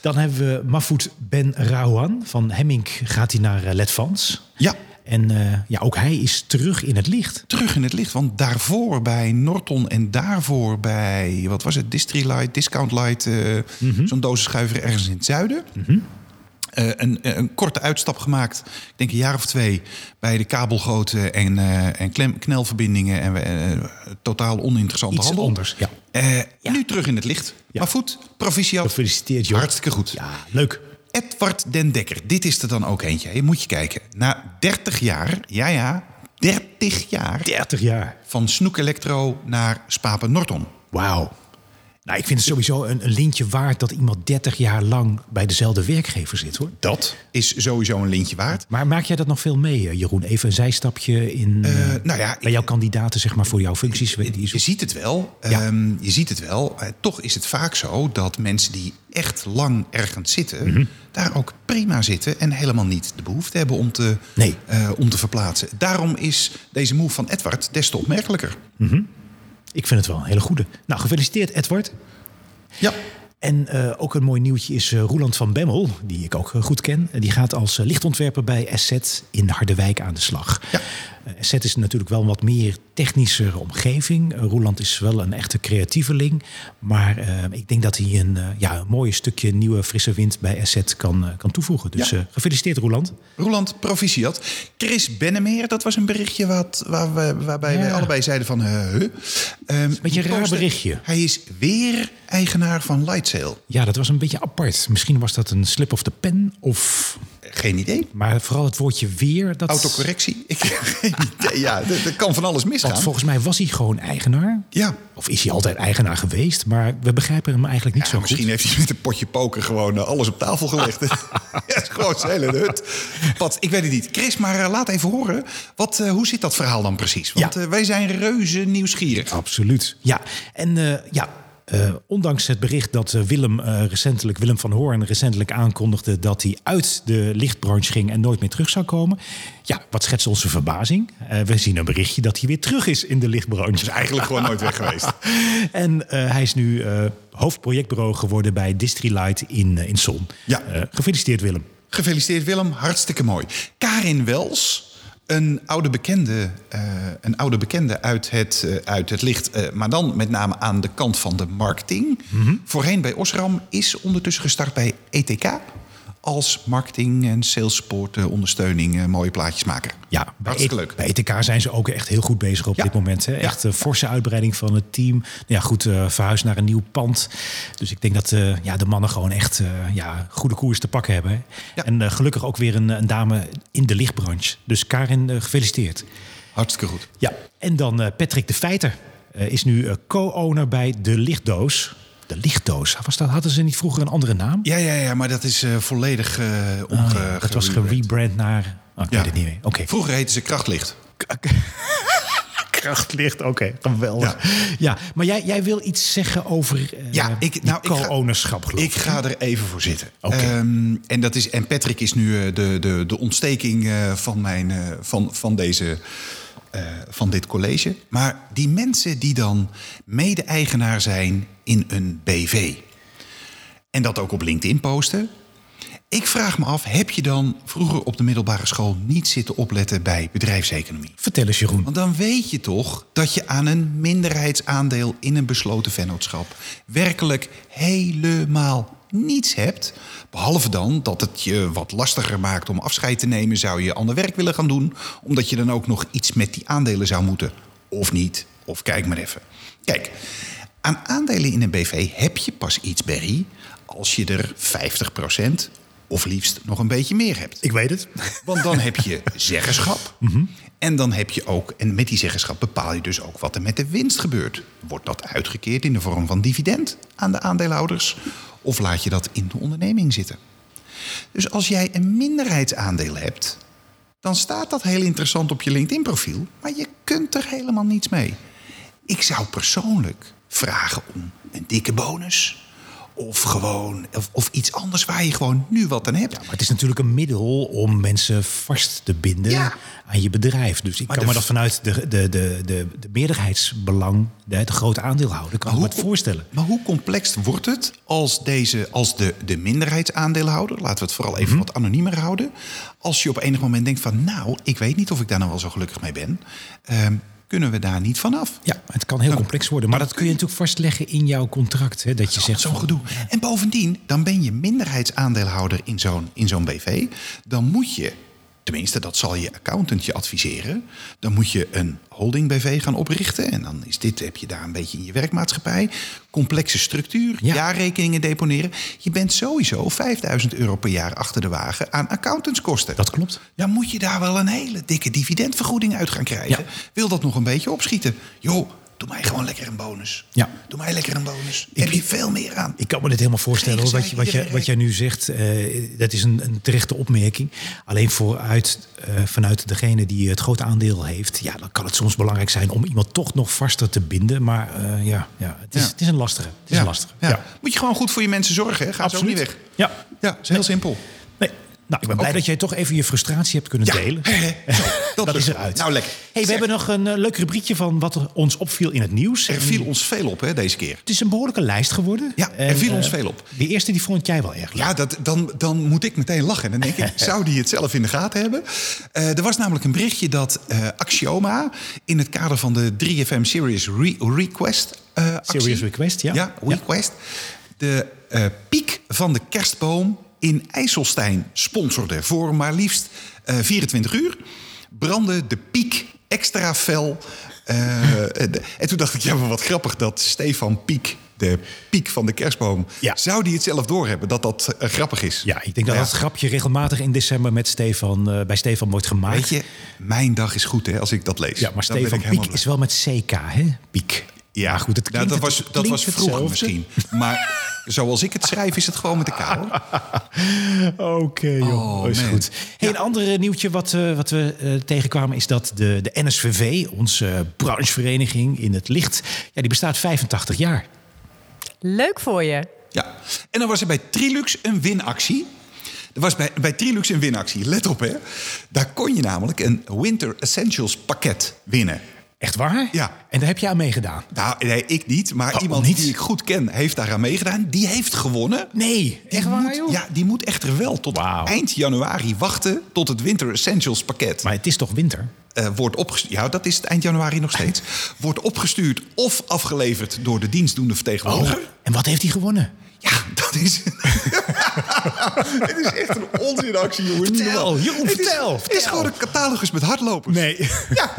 Dan hebben we Mafoud Ben Rouhan. Van Hemming gaat hij naar eh, Letvans. Ja. En eh, ja, ook hij is terug in het licht. terug in het licht. Want daarvoor bij Norton en daarvoor bij, wat was het, Distrilight, Discount Light, eh, Mhm. zo'n dozenschuiver ergens in het zuiden. Eh, een, een korte uitstap gemaakt, ik denk een jaar of twee, bij de kabelgrootte en, eh, en klem, knelverbindingen en eh, totaal oninteressante Iets handel. anders, ja. Eh, Nu terug in het licht. Maar goed, proficiat. Gefeliciteerd, joh. Hartstikke goed. Ja, leuk. Edward Den Dekker, dit is er dan ook eentje. Je moet je kijken. Na 30 jaar, ja ja, 30 jaar 30 jaar. van Snoek Electro naar Spapen Norton. Wauw. Nou, ik vind het sowieso een, een lintje waard dat iemand 30 jaar lang bij dezelfde werkgever zit hoor. Dat is sowieso een lintje waard. Maar maak jij dat nog veel mee, eh, Jeroen? Even een zijstapje in, eh, nou ja, bij jouw kandidaten, zeg maar, voor jouw functies. Die je Je zoekt. ziet het wel. Ja. Ehm, je ziet het wel. Eh, toch is het vaak zo dat mensen die echt lang ergens zitten, Mhm. daar ook prima zitten en helemaal niet de behoefte hebben om te, Nee. eh, om te verplaatsen. Daarom is deze move van Edward des te opmerkelijker. Ik vind het wel een hele goede. Nou, gefeliciteerd, Edward. Ja. En eh, ook een mooi nieuwtje is eh, Roeland van Bemmel, die ik ook eh, goed ken. Eh, Die gaat als eh, lichtontwerper bij Asset in Harderwijk aan de slag. Ja. Eh, Asset is natuurlijk wel een wat meer technische omgeving. Eh, Roeland is wel een echte creatieveling. Maar eh, ik denk dat hij een, eh, ja, een mooi stukje nieuwe frisse wind bij Asset kan, eh, kan toevoegen. Dus Ja. eh, gefeliciteerd, Roeland. Roland, proficiat. Chris Bennemeer, dat was een berichtje wat, waar we, waarbij wij Ja. allebei zeiden van... eh, huh. Ehm, beetje een raar postte- berichtje. Hij is weer eigenaar van Lightsail. Ja, dat was een beetje apart. Misschien was dat een slip of the pen of... Geen idee. Maar vooral het woordje weer. Dat... Autocorrectie? Ik heb geen idee. Ja, er er kan van alles Want misgaan. volgens mij was hij gewoon eigenaar. Ja. Of is hij altijd eigenaar geweest, maar we begrijpen hem eigenlijk niet Ja, zo misschien goed. heeft hij met een potje poker gewoon eh, alles op tafel gelegd. ja, het is gewoon zijn hele hut. Pat, ik weet het niet. Chris, maar eh, laat even horen. Wat, eh, hoe zit dat verhaal dan precies? Want Ja. Oh, eh, wij zijn reuze nieuwsgierig. Absoluut. Ja, en eh, ja, eh, ondanks het bericht dat eh, Willem, eh, recentelijk, Willem van Hoorn recentelijk aankondigde dat hij uit de lichtbranche ging en nooit meer terug zou komen. Ja, wat schetst onze verbazing? Eh, we zien een berichtje dat hij weer terug is in de lichtbranche. Eigenlijk gewoon nooit weg geweest. En eh, hij is nu eh, hoofdprojectbureau geworden bij Distrilight in, eh, in Son. Ja. Eh, gefeliciteerd Willem. Gefeliciteerd Willem, hartstikke mooi. Karin Wels, een oude bekende, eh, een oude bekende uit, het, eh, uit het licht... eh, maar dan met name aan de kant van de marketing. Mhm. Voorheen bij Osram, is ondertussen gestart bij ETK... als marketing- en sales support eh, ondersteuning eh, mooie plaatjesmaker. Ja, bij, Hartstikke E- leuk. bij ETK zijn ze ook echt heel goed bezig op Ja. dit moment. Hè? Ja. Echt een forse uitbreiding van het team. Nou ja, goed, eh verhuis naar een nieuw pand. Dus ik denk dat eh, ja, de mannen gewoon echt eh, ja, goede koers te pakken hebben. hè. Ja. En eh, gelukkig ook weer een, een dame in de lichtbranche. Dus Karin, eh, gefeliciteerd. Hartstikke goed. Ja, en dan eh, Patrick de Feiter eh, is nu eh, co-owner bij De Lichtdoos. De Lichtdoos, was dat, hadden ze niet vroeger een andere naam? Ja, ja, ja, maar dat is eh, volledig eh Ah, omge- ja, dat was gerebrand. gerebrand naar... Oh, ik Ja. weet het niet meer. Oké. Vroeger heette ze Krachtlicht. Krachtlicht, oké, geweldig. Ja. maar jij, jij wil iets zeggen over eh, Ja, ik- die nou, ik ga- co-ownerschap, geloof ik. Ik ga er even voor zitten. Oké. Ehm, en, dat is, en Patrick is nu eh, de, de, de ontsteking eh, van, mijn, eh, van, van, deze, eh, van dit college. Maar die mensen die dan mede-eigenaar zijn in een BV. En dat ook op LinkedIn posten. Ik vraag me af, heb je dan vroeger op de middelbare school niet zitten opletten bij bedrijfseconomie? Vertel eens, Jeroen. Want dan weet je toch dat je aan een minderheidsaandeel in een besloten vennootschap werkelijk helemaal niets hebt. Behalve dan dat het je wat lastiger maakt om afscheid te nemen, zou je ander werk willen gaan doen, omdat je dan ook nog iets met die aandelen zou moeten. Of niet, of kijk maar even. Kijk, aan aandelen in een BV heb je pas iets, Berry, als je er 50% of liefst nog een beetje meer hebt. Ik weet het. Want dan heb je zeggenschap. En dan heb je ook, en met die zeggenschap bepaal je dus ook wat er met de winst gebeurt. Wordt dat uitgekeerd in de vorm van dividend aan de aandeelhouders? Of laat je dat in de onderneming zitten? Dus als jij een minderheidsaandeel hebt, dan staat dat heel interessant op je LinkedIn-profiel, maar je kunt er helemaal niets mee. Ik zou persoonlijk vragen om een dikke bonus. Of gewoon, of, of iets anders waar je gewoon nu wat aan hebt. Maar Nou, het is natuurlijk een middel om mensen vast te binden Ja. aan je bedrijf. Dus ik Maar kan de- me dat vanuit de, de, de, de, de meerderheidsbelang, de, de grote aandeelhouder, kan ik me hoe het voorstellen. Maar hoe complex wordt het als, deze, als de, de minderheidsaandeelhouder, laten we het vooral even wat anoniemer houden, als je op enig moment denkt van nou, ik weet niet of ik daar nou wel zo gelukkig mee ben, ehm, kunnen we daar niet vanaf? Ja, het kan Nou, heel complex worden. Maar dat kun je natuurlijk vastleggen in jouw contract. Hè, dat je zegt Nou, Zo'n van- gedoe. En bovendien, dan ben je minderheidsaandeelhouder in zo'n, in zo'n BV. Dan moet je, tenminste dat zal je accountant je adviseren... dan moet je een holding BV gaan oprichten. En dan is dit, heb je daar een beetje in je werkmaatschappij. Complexe structuur, Ja. jaarrekeningen deponeren. Je bent sowieso 5000 euro per jaar achter de wagen aan accountantskosten. Dat klopt. Dan moet je daar wel een hele dikke dividendvergoeding uit gaan krijgen. Ja. Wil dat nog een beetje opschieten? Joh, Doe mij gewoon lekker een bonus. Ja. Doe mij lekker een bonus. Heb je veel meer aan. Ik kan me dit helemaal voorstellen. Hoor. Wat, je, wat, je, wat jij nu zegt, eh, dat is een, een terechte opmerking. Alleen vooruit, eh, vanuit degene die het grote aandeel heeft... ja, dan kan het soms belangrijk zijn om iemand toch nog vaster te binden. Maar eh, ja, ja, het, is, Ja. het is een lastige. Het is een lastige. Ja. Moet je gewoon goed voor je mensen zorgen. Hè? Ga ze ook niet weg. Ja. Ja, is heel simpel. Nee. Nou, ik ben blij Oké. dat jij toch even je frustratie hebt kunnen Ja. delen. Hè, hè. Zo, Dat, lukt. is eruit. Nou, lekker. Hey, we Zeg, hebben nog een eh, leuk rubriekje van wat er ons opviel in het nieuws. Er En viel ons veel op hè, deze keer. Het is een behoorlijke lijst geworden. Ja, er En, viel eh, ons veel op. De eerste die vond jij wel erg leuk. Ja, dat, dan, dan moet ik meteen lachen. Dan denk ik, zou die het zelf in de gaten hebben? Eh, er was namelijk een berichtje dat eh, Axioma... in het kader van de 3FM Serious Re- Request eh, actie- Serious Request, ja. Ja, Request. De eh, piek van de kerstboom in IJsselstein sponsorde... voor maar liefst eh, 24 uur brandde de piek extra fel. eh, en- en toen dacht ik, ja, maar wat grappig dat Stefan Piek... De piek van de kerstboom Ja. zou die het zelf doorhebben dat dat eh, grappig is? Ja, ik denk dat Ja. dat grapje regelmatig in december met Stefan, eh, bij Stefan wordt gemaakt. Weet je, mijn dag is goed hè, als ik dat lees. Ja, maar Dan ben Stefan ik helemaal Piek is wel met CK, hè? Piek. blij. Ja, Maar goed, het Nou, klinkt, dat was, het dat klinkt was vroeger hetzelfde. misschien. Maar zoals ik het schrijf, is het gewoon met de K. hoor. Oké, joh. Oh, is man. goed. Hey, Een ander nieuwtje wat, eh, wat we eh, tegenkwamen is dat de, de NSVV, onze eh, branchevereniging in het licht, ja, die bestaat 85 jaar. Leuk voor je. Ja. En dan was er bij Trilux een winactie. Er was bij, bij Trilux een winactie. Let op hè. Daar kon je namelijk een Winter Essentials pakket winnen. Echt waar? Ja. En daar heb je aan meegedaan? Nou, nee, ik niet. Maar Oh, iemand niet? die ik goed ken heeft daaraan meegedaan. Die heeft gewonnen. Nee, Die echt waar, moet, joh? Ja, die moet echter wel tot Wauw. eind januari wachten tot het Winter Essentials pakket Maar het is toch winter? eh, wordt opgestuurd. Ja, dat is het eind januari nog steeds. wordt opgestuurd of afgeleverd door de dienstdoende vertegenwoordiger. En wat heeft hij gewonnen? Ja, dat is. het is echt een onzinactie, jongen. Niet Vertel, normaal. Jeroen, het is, vertel, Het is vertel. gewoon een catalogus met hardlopers. Nee. Ja.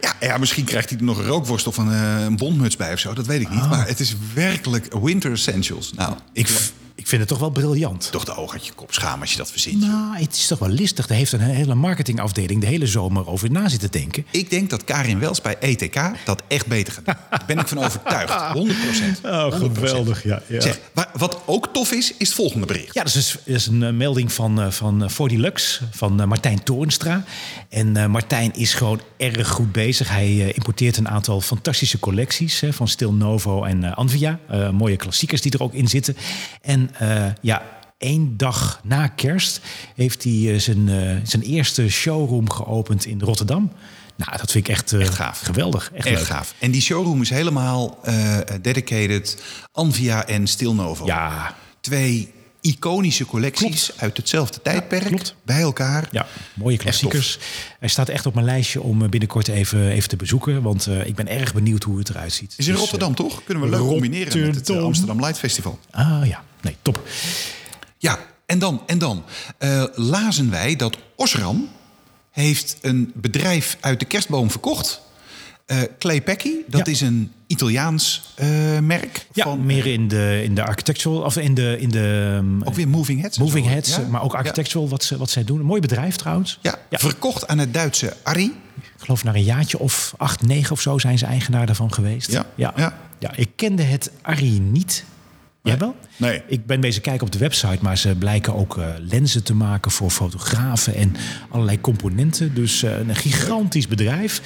Ja, ja, misschien krijgt hij er nog een rookworst of een, eh, een bondmuts bij of zo. Dat weet ik niet. Oh. Maar het is werkelijk Winter Essentials. Nou, Ik, v- ik vind het toch wel briljant. toch de oog uit je kop schaam als je dat verzint. joh. Nou, het is toch wel listig. Daar heeft een hele marketingafdeling de hele zomer over na zitten denken. Ik denk dat Karin Wels bij ETK dat echt beter gaat doen. Daar ben ik van overtuigd. 100 Oh, 100%. geweldig, ja, ja. Zeg, wa- wat ook tof is, is het volgende bericht. Ja, dat is, dat is een eh, melding van, eh, van eh, 4D Lux, van eh, Martijn Toornstra. En eh, Martijn is gewoon erg goed bezig. Hij eh, importeert een aantal fantastische collecties hè, van Stil Novo en eh, Anvia. Eh, mooie klassiekers die er ook in zitten. En eh, ja, één dag na kerst heeft hij eh, zijn, eh, zijn eerste showroom geopend in Rotterdam. Nou, dat vind ik echt, eh, Echt gaaf. geweldig. Echt, Echt leuk. gaaf. En die showroom is helemaal eh, dedicated Anvia en Stilnovo. Ja, Twee iconische collecties uit hetzelfde tijdperk klopt. bij elkaar. Ja, mooie klassiekers. Hij staat echt op mijn lijstje om eh, binnenkort even, even te bezoeken. Want eh, ik ben erg benieuwd hoe het eruit ziet. Is in Dus, eh, Rotterdam toch? Kunnen we leuk combineren met het eh, Rotterdam. Amsterdam Light Festival. ah ja, nee, top. Ja, en dan, en dan eh, lazen wij dat Osram heeft een bedrijf uit de kerstboom verkocht. Eh Clay Pecchi, dat Ja. is een Italiaans eh, merk. Ja, van, meer in de, in de architectural, of in de, in de ehm, ook weer Moving Heads. en moving zo. heads, Ja, eh, maar ook ja. architectural wat, ze, wat zij doen. Een mooi bedrijf trouwens. Ja, Ja. verkocht aan het Duitse Arri. Ik geloof na een jaartje of acht, negen of zo zijn ze eigenaar daarvan geweest. Ja, ja. ja. Ja, ik kende het Arie niet. Jij wel? nee. Ik ben bezig kijken op de website, maar ze blijken ook eh, lenzen te maken voor fotografen en allerlei componenten. Dus eh, een gigantisch bedrijf.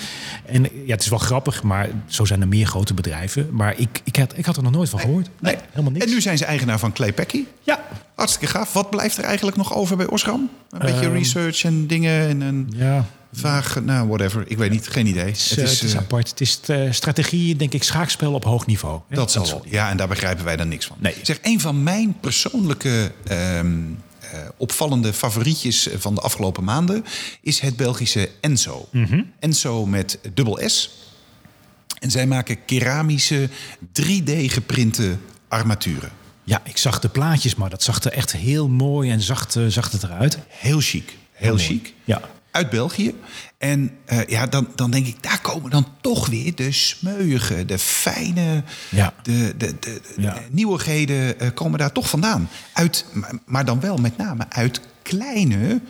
En eh, ja, het is wel grappig, maar zo zijn er meer grote bedrijven. Maar ik, ik, had, ik had er nog nooit van gehoord. Nee, helemaal niks. En nu zijn ze eigenaar van Clay Peckie. Ja. Hartstikke gaaf. Wat blijft er eigenlijk nog over bij Osram? Een Ehm, beetje research en dingen en een Ja, vaag... Nou, whatever. Ik weet niet. Geen idee. het is, eh, het is eh, apart. Het is eh, strategie, denk ik, schaakspel op hoog niveau. Hè? dat zal wel. soort- Ja, en daar begrijpen wij dan niks van. Nee. Zeg, een van mijn persoonlijke ehm, eh, opvallende favorietjes van de afgelopen maanden... is het Belgische Enzo. Mhm. Enzo met dubbel S. En zij maken keramische 3D-geprinte armaturen. Ja, ik zag de plaatjes, maar dat zag er echt heel mooi en zacht, eh, zag het eruit. Heel chic. Heel mooi. chic. Ja. Uit België. En eh, ja, dan, dan denk ik, daar komen dan toch weer de smeuïge, de fijne, Ja. de, de, de, de Ja. nieuwigheden eh, komen daar toch vandaan. Uit, maar- maar dan wel met name uit kleine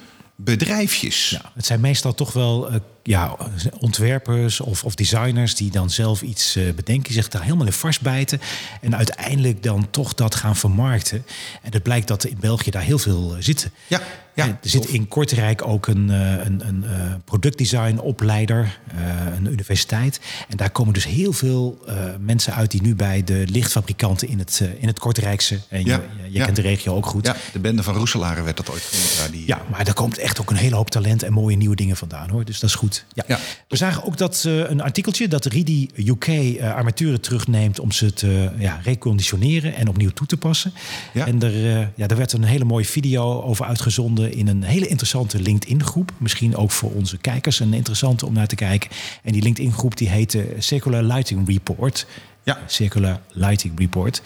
bedrijfjes. Ja, het zijn meestal toch wel eh, ja, ontwerpers of, of designers die dan zelf iets eh, bedenken, zich daar helemaal in vastbijten en uiteindelijk dan toch dat gaan vermarkten. En het blijkt dat in België daar heel veel eh, zitten. Ja, ja, Eh, er zit tof. in Kortrijk ook een, eh, een, een eh, productdesignopleider, eh, een universiteit. En daar komen dus heel veel eh, mensen uit die nu bij de lichtfabrikanten in het, eh, in het Kortrijkse. En Ja, je, je ja. kent de regio ook goed. Ja, de bende van Roeselaren werd dat ooit genoemd. Daar die, Ja, maar daar komt echt ook een hele hoop talent en mooie nieuwe dingen vandaan hoor. Dus dat is goed. Ja. Ja. We zagen ook dat eh, een artikeltje dat Ridi UK eh, armaturen terugneemt om ze te eh, ja, reconditioneren en opnieuw toe te passen. Ja. En er, eh, ja, daar werd een hele mooie video over uitgezonden in een hele interessante LinkedIn groep. Misschien ook voor onze kijkers een interessante om naar te kijken. En die LinkedIn groep die heette Circular Lighting Report. Ja. Circular Lighting Report.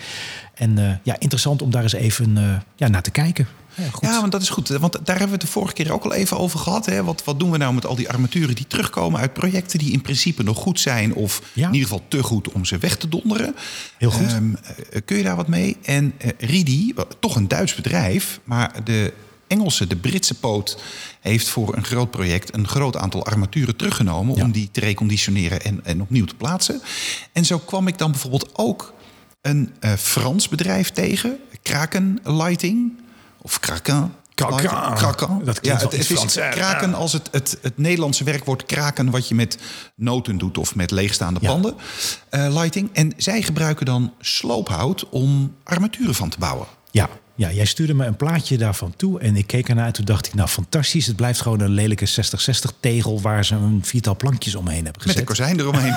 En eh, ja, interessant om daar eens even eh, ja, naar te kijken. Ja, goed. Ja, want dat is goed. eh, Want daar hebben we het de vorige keer ook al even over gehad. Hè? Wat, wat doen we nou met al die armaturen die terugkomen uit projecten die in principe nog goed zijn of Ja. in ieder geval te goed om ze weg te donderen? Heel goed. Ehm, eh, kun je daar wat mee? En eh, Ridi, eh, toch een Duits bedrijf, maar de Engelse, de Britse poot, heeft voor een groot project een groot aantal armaturen teruggenomen Ja. om die te reconditioneren en, en opnieuw te plaatsen. En zo kwam ik dan bijvoorbeeld ook een eh, Frans bedrijf tegen, Kraken Lighting. Of Kraken. Kraken. Lighting. Kraken. Dat klinkt ja, wel het, iets het is Frans, hè? kraken als het, het, het Nederlandse werkwoord kraken... wat je met noten doet of met leegstaande Ja. panden. eh, lighting. En zij gebruiken dan sloophout om armaturen van te bouwen. Ja, ja, jij stuurde me een plaatje daarvan toe en ik keek ernaar en toen dacht ik, nou fantastisch, het blijft gewoon een lelijke 60-60 tegel waar ze een viertal plankjes omheen hebben Met een gezet. kozijn eromheen.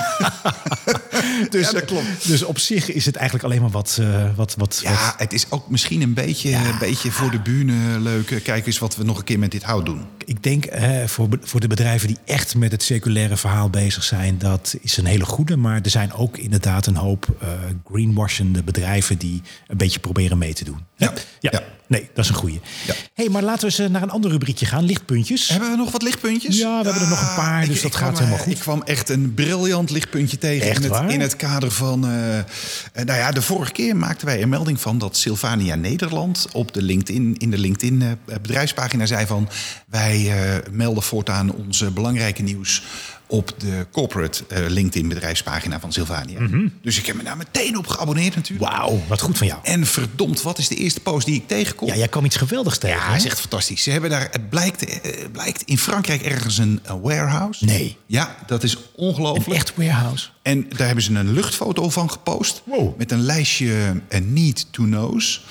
dus, Ja, dat klopt. Dus op zich is het eigenlijk alleen maar wat, eh, wat, wat, ja, het is ook misschien een beetje, een beetje voor de bühne leuk. eh, Kijk eens wat we nog een keer met dit hout doen. Ik denk eh, voor, be- voor de bedrijven die echt met het circulaire verhaal bezig zijn, dat is een hele goede. Maar er zijn ook inderdaad een hoop eh greenwashende bedrijven die een beetje proberen mee te doen. Ja, Hè? ja. Nee, dat is een goede. Ja. hey, maar laten we eens eh, naar een ander rubriekje gaan. Lichtpuntjes. Hebben we nog wat lichtpuntjes? Ja, we hebben er nog een paar, dus dat gaat kwam, helemaal eh, goed. Ik kwam echt een briljant lichtpuntje tegen Echt in, waar? het, in het kader van... eh, eh, nou ja, de vorige keer maakten wij een melding van dat Sylvania Nederland... op de LinkedIn, in de LinkedIn eh, bedrijfspagina zei van... wij eh, melden voortaan onze belangrijke nieuws op de corporate eh, LinkedIn bedrijfspagina van Sylvania. Mhm. Dus ik heb me daar meteen op geabonneerd natuurlijk. Wauw, wat goed van jou. En verdomd, wat is de eerste post die ik tegenkom? Ja, jij kwam iets geweldigs tegen. Ja, hè? hij is echt fantastisch. Ze hebben daar, het blijkt, eh, blijkt in Frankrijk ergens een eh, warehouse. Nee. Ja, dat is ongelooflijk. Een echt warehouse. En daar hebben ze een luchtfoto van gepost. Wow. Met een lijstje eh, need to know's.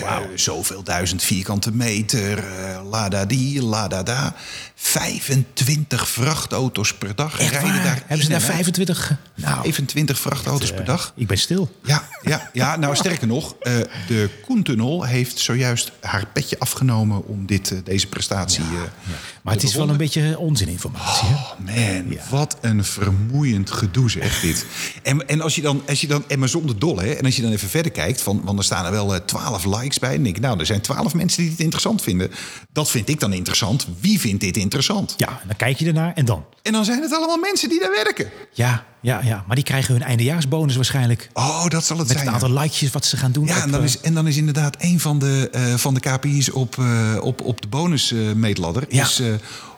Wauw. zoveel duizend vierkante meter, eh, la da die, la da da. 25 vrachtauto's per dag Echt rijden waar? daar. Hebben ze daar in en uit. 25? Nou, 25 vrachtauto's per dag. eh, ik ben stil. Ja, ja, ja, nou sterker nog, eh, de Koentunnel heeft zojuist haar petje afgenomen om dit, eh, deze prestatie. eh, Maar het te is wel een bewonderen. beetje onzininformatie. hè? Oh man, wat een vermoeiend gedoe zeg dit. En, en als je dan, als je dan, en maar zonder dol hè, en als je dan even verder kijkt, van, want er staan er wel eh, twaalf likes bij. En dan denk ik, nou, er zijn twaalf mensen die dit interessant vinden. Dat vind ik dan interessant. Wie vindt dit interessant? Ja, en dan kijk je ernaar en dan. En dan zijn het allemaal mensen die daar werken. Ja, ja, ja. Maar die krijgen hun eindejaarsbonus waarschijnlijk. Oh, dat zal het Met zijn. het ja. aantal likejes wat ze gaan doen. Ja, op, en dan, eh, is, en dan is inderdaad een van de, eh, van de KPI's op, eh, op, op de bonusmeetladder... Ja. is eh,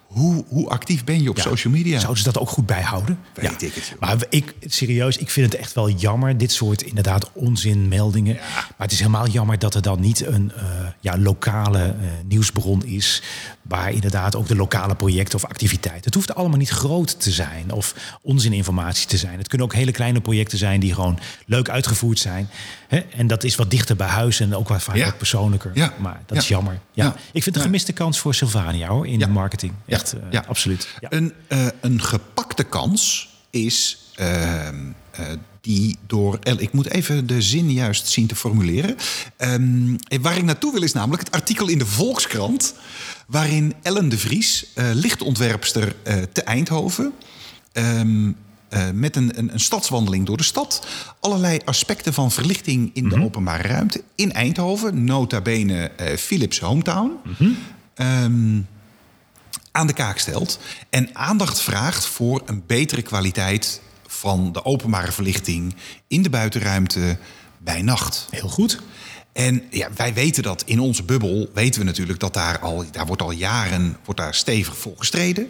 hoe, hoe actief ben je op ja. social media? Zouden ze dat ook goed bijhouden? Weet ik het, joh. Maar ik, serieus, ik vind het echt wel jammer. Dit soort inderdaad onzinmeldingen. Maar het is helemaal jammer dat er dan niet een eh, ja, lokale eh, nieuwsbron is. Waar inderdaad ook de lokale projecten of activiteiten. Het hoeft allemaal niet groot te zijn of onzininformatie te zijn. Het kunnen ook hele kleine projecten zijn die gewoon leuk uitgevoerd zijn. Hè? En dat is wat dichter bij huis en ook wat vaak Ja. wat persoonlijker. Ja. Maar dat Ja. is jammer. Ja. Ja. Ik vind het een gemiste kans voor Sylvania hoor, in Ja. de marketing. Ja. Echt, eh, Ja. absoluut. Ja. Een, eh, een gepakte kans is ehm, eh, die door... El- Ik moet even de zin juist zien te formuleren. Ehm, waar ik naartoe wil is namelijk het artikel in de Volkskrant... waarin Ellen de Vries, eh, lichtontwerpster eh, te Eindhoven... ehm, eh, met een, een, een stadswandeling door de stad. Allerlei aspecten van verlichting in de openbare ruimte. In Eindhoven, nota bene eh, Philips Hometown. Ehm, aan de kaak stelt en aandacht vraagt voor een betere kwaliteit van de openbare verlichting in de buitenruimte bij nacht. Heel goed. En ja, wij weten dat in onze bubbel, weten we natuurlijk dat daar al, daar wordt al jaren wordt daar stevig voor gestreden.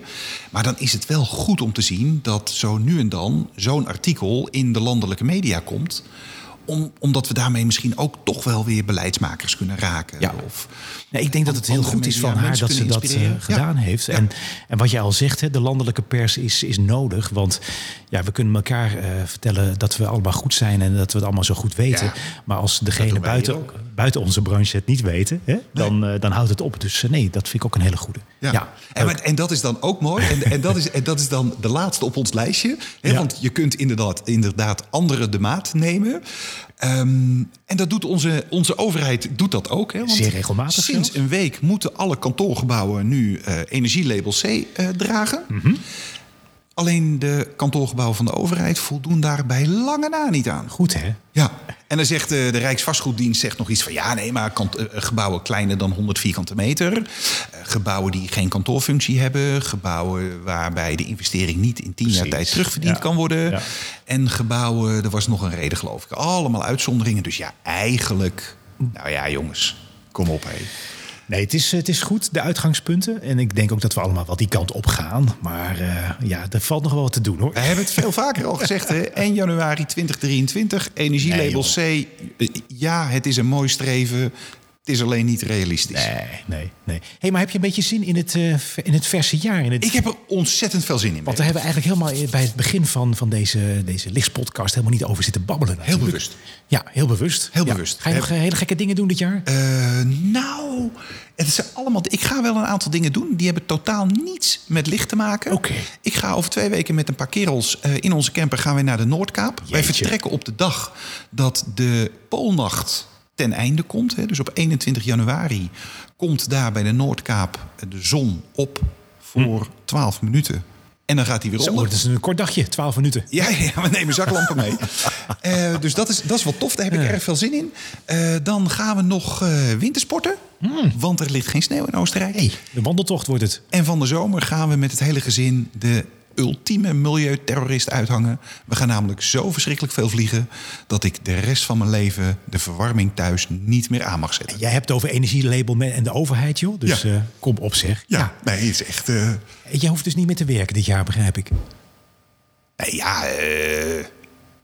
Maar dan is het wel goed om te zien dat zo nu en dan zo'n artikel in de landelijke media komt. Om, omdat we daarmee misschien ook toch wel weer beleidsmakers kunnen raken. Ja. Of, Nee, ik denk dat het heel andere goed is van media haar mensen dat ze kunnen dat eh, inspireren. Ja. gedaan heeft. En, en wat je al zegt, hè, de landelijke pers is, is nodig. Want ja, we kunnen elkaar eh, vertellen dat we allemaal goed zijn en dat we het allemaal zo goed weten. Ja. Maar als doen degene wij buiten, hier ook. buiten onze branche het niet weten, hè, dan, eh, dan houdt het op. Dus eh, nee, dat vind ik ook een hele goede. Eh, Ja. en, maar- en dat is dan ook mooi. En, en, dat is, en dat is dan de laatste op ons lijstje. Hè? Ja. Want je kunt inderdaad, inderdaad anderen de maat nemen. Ehm, en dat doet onze, onze overheid doet dat ook. Hè? Want Zeer regelmatig Sinds zelfs. een week moeten alle kantoorgebouwen nu eh, energielabel C eh, dragen. Mhm. Alleen de kantoorgebouwen van de overheid voldoen daar bij lange na niet aan. Goed hè? Ja, en dan zegt eh, de Rijksvastgoeddienst zegt nog iets van... ja, nee, maar kant- eh, gebouwen kleiner dan 100 vierkante meter... eh, gebouwen die geen kantoorfunctie hebben... gebouwen waarbij de investering niet in tien jaar Precies. tijd terugverdiend Ja. kan worden... Ja. en gebouwen, er was nog een reden geloof ik, allemaal uitzonderingen. Dus ja, eigenlijk, nou ja jongens, kom op hé. Nee, het is, het is goed, de uitgangspunten. En ik denk ook dat we allemaal wel die kant op gaan. Maar eh, ja, er valt nog wel wat te doen hoor. We hebben het veel vaker al gezegd, hè? 1 januari 2023, energielabel C. Eh, Ja, het is een mooi streven, het is alleen niet realistisch. Nee, nee, nee. hey, maar heb je een beetje zin in het, eh, ver- in het verse jaar? In het Ik heb er ontzettend veel zin in. Want daar hebben we eigenlijk helemaal bij het begin van, van deze, deze lichtspodcast helemaal niet over zitten babbelen. Heel natuurlijk. bewust. Ja, heel bewust. Heel Ja. bewust. Ga je nog eh, hele gekke dingen doen dit jaar? Eh, nou, het is allemaal. Ik ga wel een aantal dingen doen. Die hebben totaal niets met licht te maken. Oké. Ik ga over twee weken met een paar kerels eh, in onze camper gaan we naar de Noordkaap. Wij vertrekken op de dag dat de Poolnacht ten einde komt. Hè. Dus op 21 januari komt daar bij de Noordkaap de zon op voor 12 minuten. En dan gaat hij weer Hm. Zo, onder. dat is een kort dagje, 12 minuten. Ja, ja, we nemen zaklampen mee. Eh, dus dat is, dat is wel tof, daar heb ik erg veel zin in. Eh, dan gaan we nog eh, wintersporten, want er ligt geen sneeuw in Oostenrijk. De wandeltocht wordt het. En van de zomer gaan we met het hele gezin de ultieme milieuterrorist uithangen. We gaan namelijk zo verschrikkelijk veel vliegen... dat ik de rest van mijn leven de verwarming thuis niet meer aan mag zetten. Jij hebt het over energielabel me- en de overheid, joh. Dus Ja. eh, kom op zeg. Ja, nee, het is echt... eh, Jij hoeft dus niet meer te werken dit jaar, begrijp ik. Nee, ja, eh,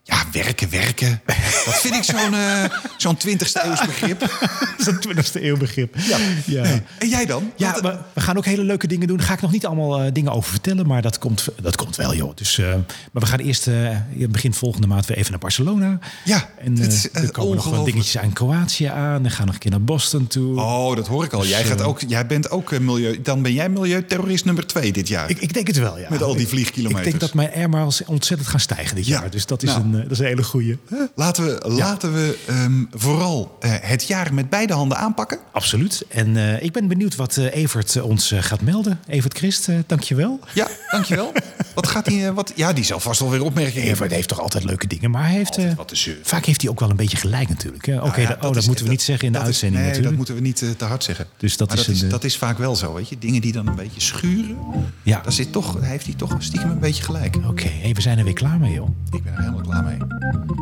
ja, werken, werken. Dat vind ik zo'n eh, zo'n 20ste eeuws begrip. Dat is een 20e eeuw begrip. Ja. ja. En jij dan? Ja, Wat- we, we gaan ook hele leuke dingen doen. Daar ga ik nog niet allemaal eh, dingen over vertellen, maar dat komt, dat komt wel, joh. Dus, eh, maar we gaan eerst eh, begin volgende maand weer even naar Barcelona. Ja, en dit eh, is echt er komen nog wel ongelooflijk. dingetjes aan Kroatië aan. Dan gaan we nog een keer naar Boston toe. Oh, dat hoor ik al. Jij, gaat ook, jij bent ook eh, milieu. Dan ben jij milieuterrorist nummer twee dit jaar. Ik, ik denk het wel, ja. Met al die Ik- vliegkilometers. Ik denk dat mijn air miles ontzettend gaan stijgen dit Ja. jaar. Dus dat is, Nou. een, eh, dat is een hele goeie. Laten we, laten we ehm, vooral eh, het jaar met beide handen aanpakken. Absoluut. En eh, ik ben benieuwd wat eh, Evert eh, ons eh, gaat melden. Evert Christ, eh dankjewel. Ja, dankjewel. wat gaat die, eh, wat, ja, die zal vast wel weer opmerkingen hebben. Evert heeft toch altijd leuke dingen, maar hij heeft... Altijd eh, wat te zeuren. Vaak heeft hij ook wel een beetje gelijk natuurlijk. hè. Oké, Nou ja, dat, oh, dat is- moeten we niet zeggen in de dat is- uitzending nee, natuurlijk. dat moeten we niet eh, te hard zeggen. Dus dat Maar is dat, is, een, eh, dat is vaak wel zo, weet je. Dingen die dan een beetje schuren. Ja. Daar zit toch, heeft hij toch stiekem een beetje gelijk. Oké, hey, we zijn er weer klaar mee, joh. Ik ben er helemaal klaar mee.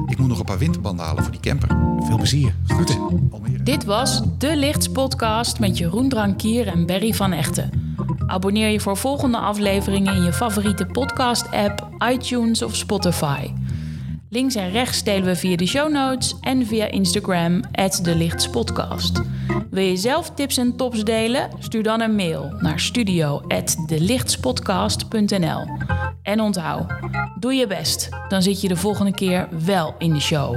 Ik moet nog een paar winterbanden halen voor die camper. Veel plezier. Goed. Almere. Dit was De Lichts Podcast met Jeroen Drankier en Berry van Echten. Abonneer je voor volgende afleveringen in je favoriete podcast-app, iTunes of Spotify. Links en rechts delen we via de show notes en via Instagram, De Lichts Podcast. Wil je zelf tips en tops delen? Stuur dan een mail naar studio En onthoud, doe je best, dan zit je de volgende keer wel in de show.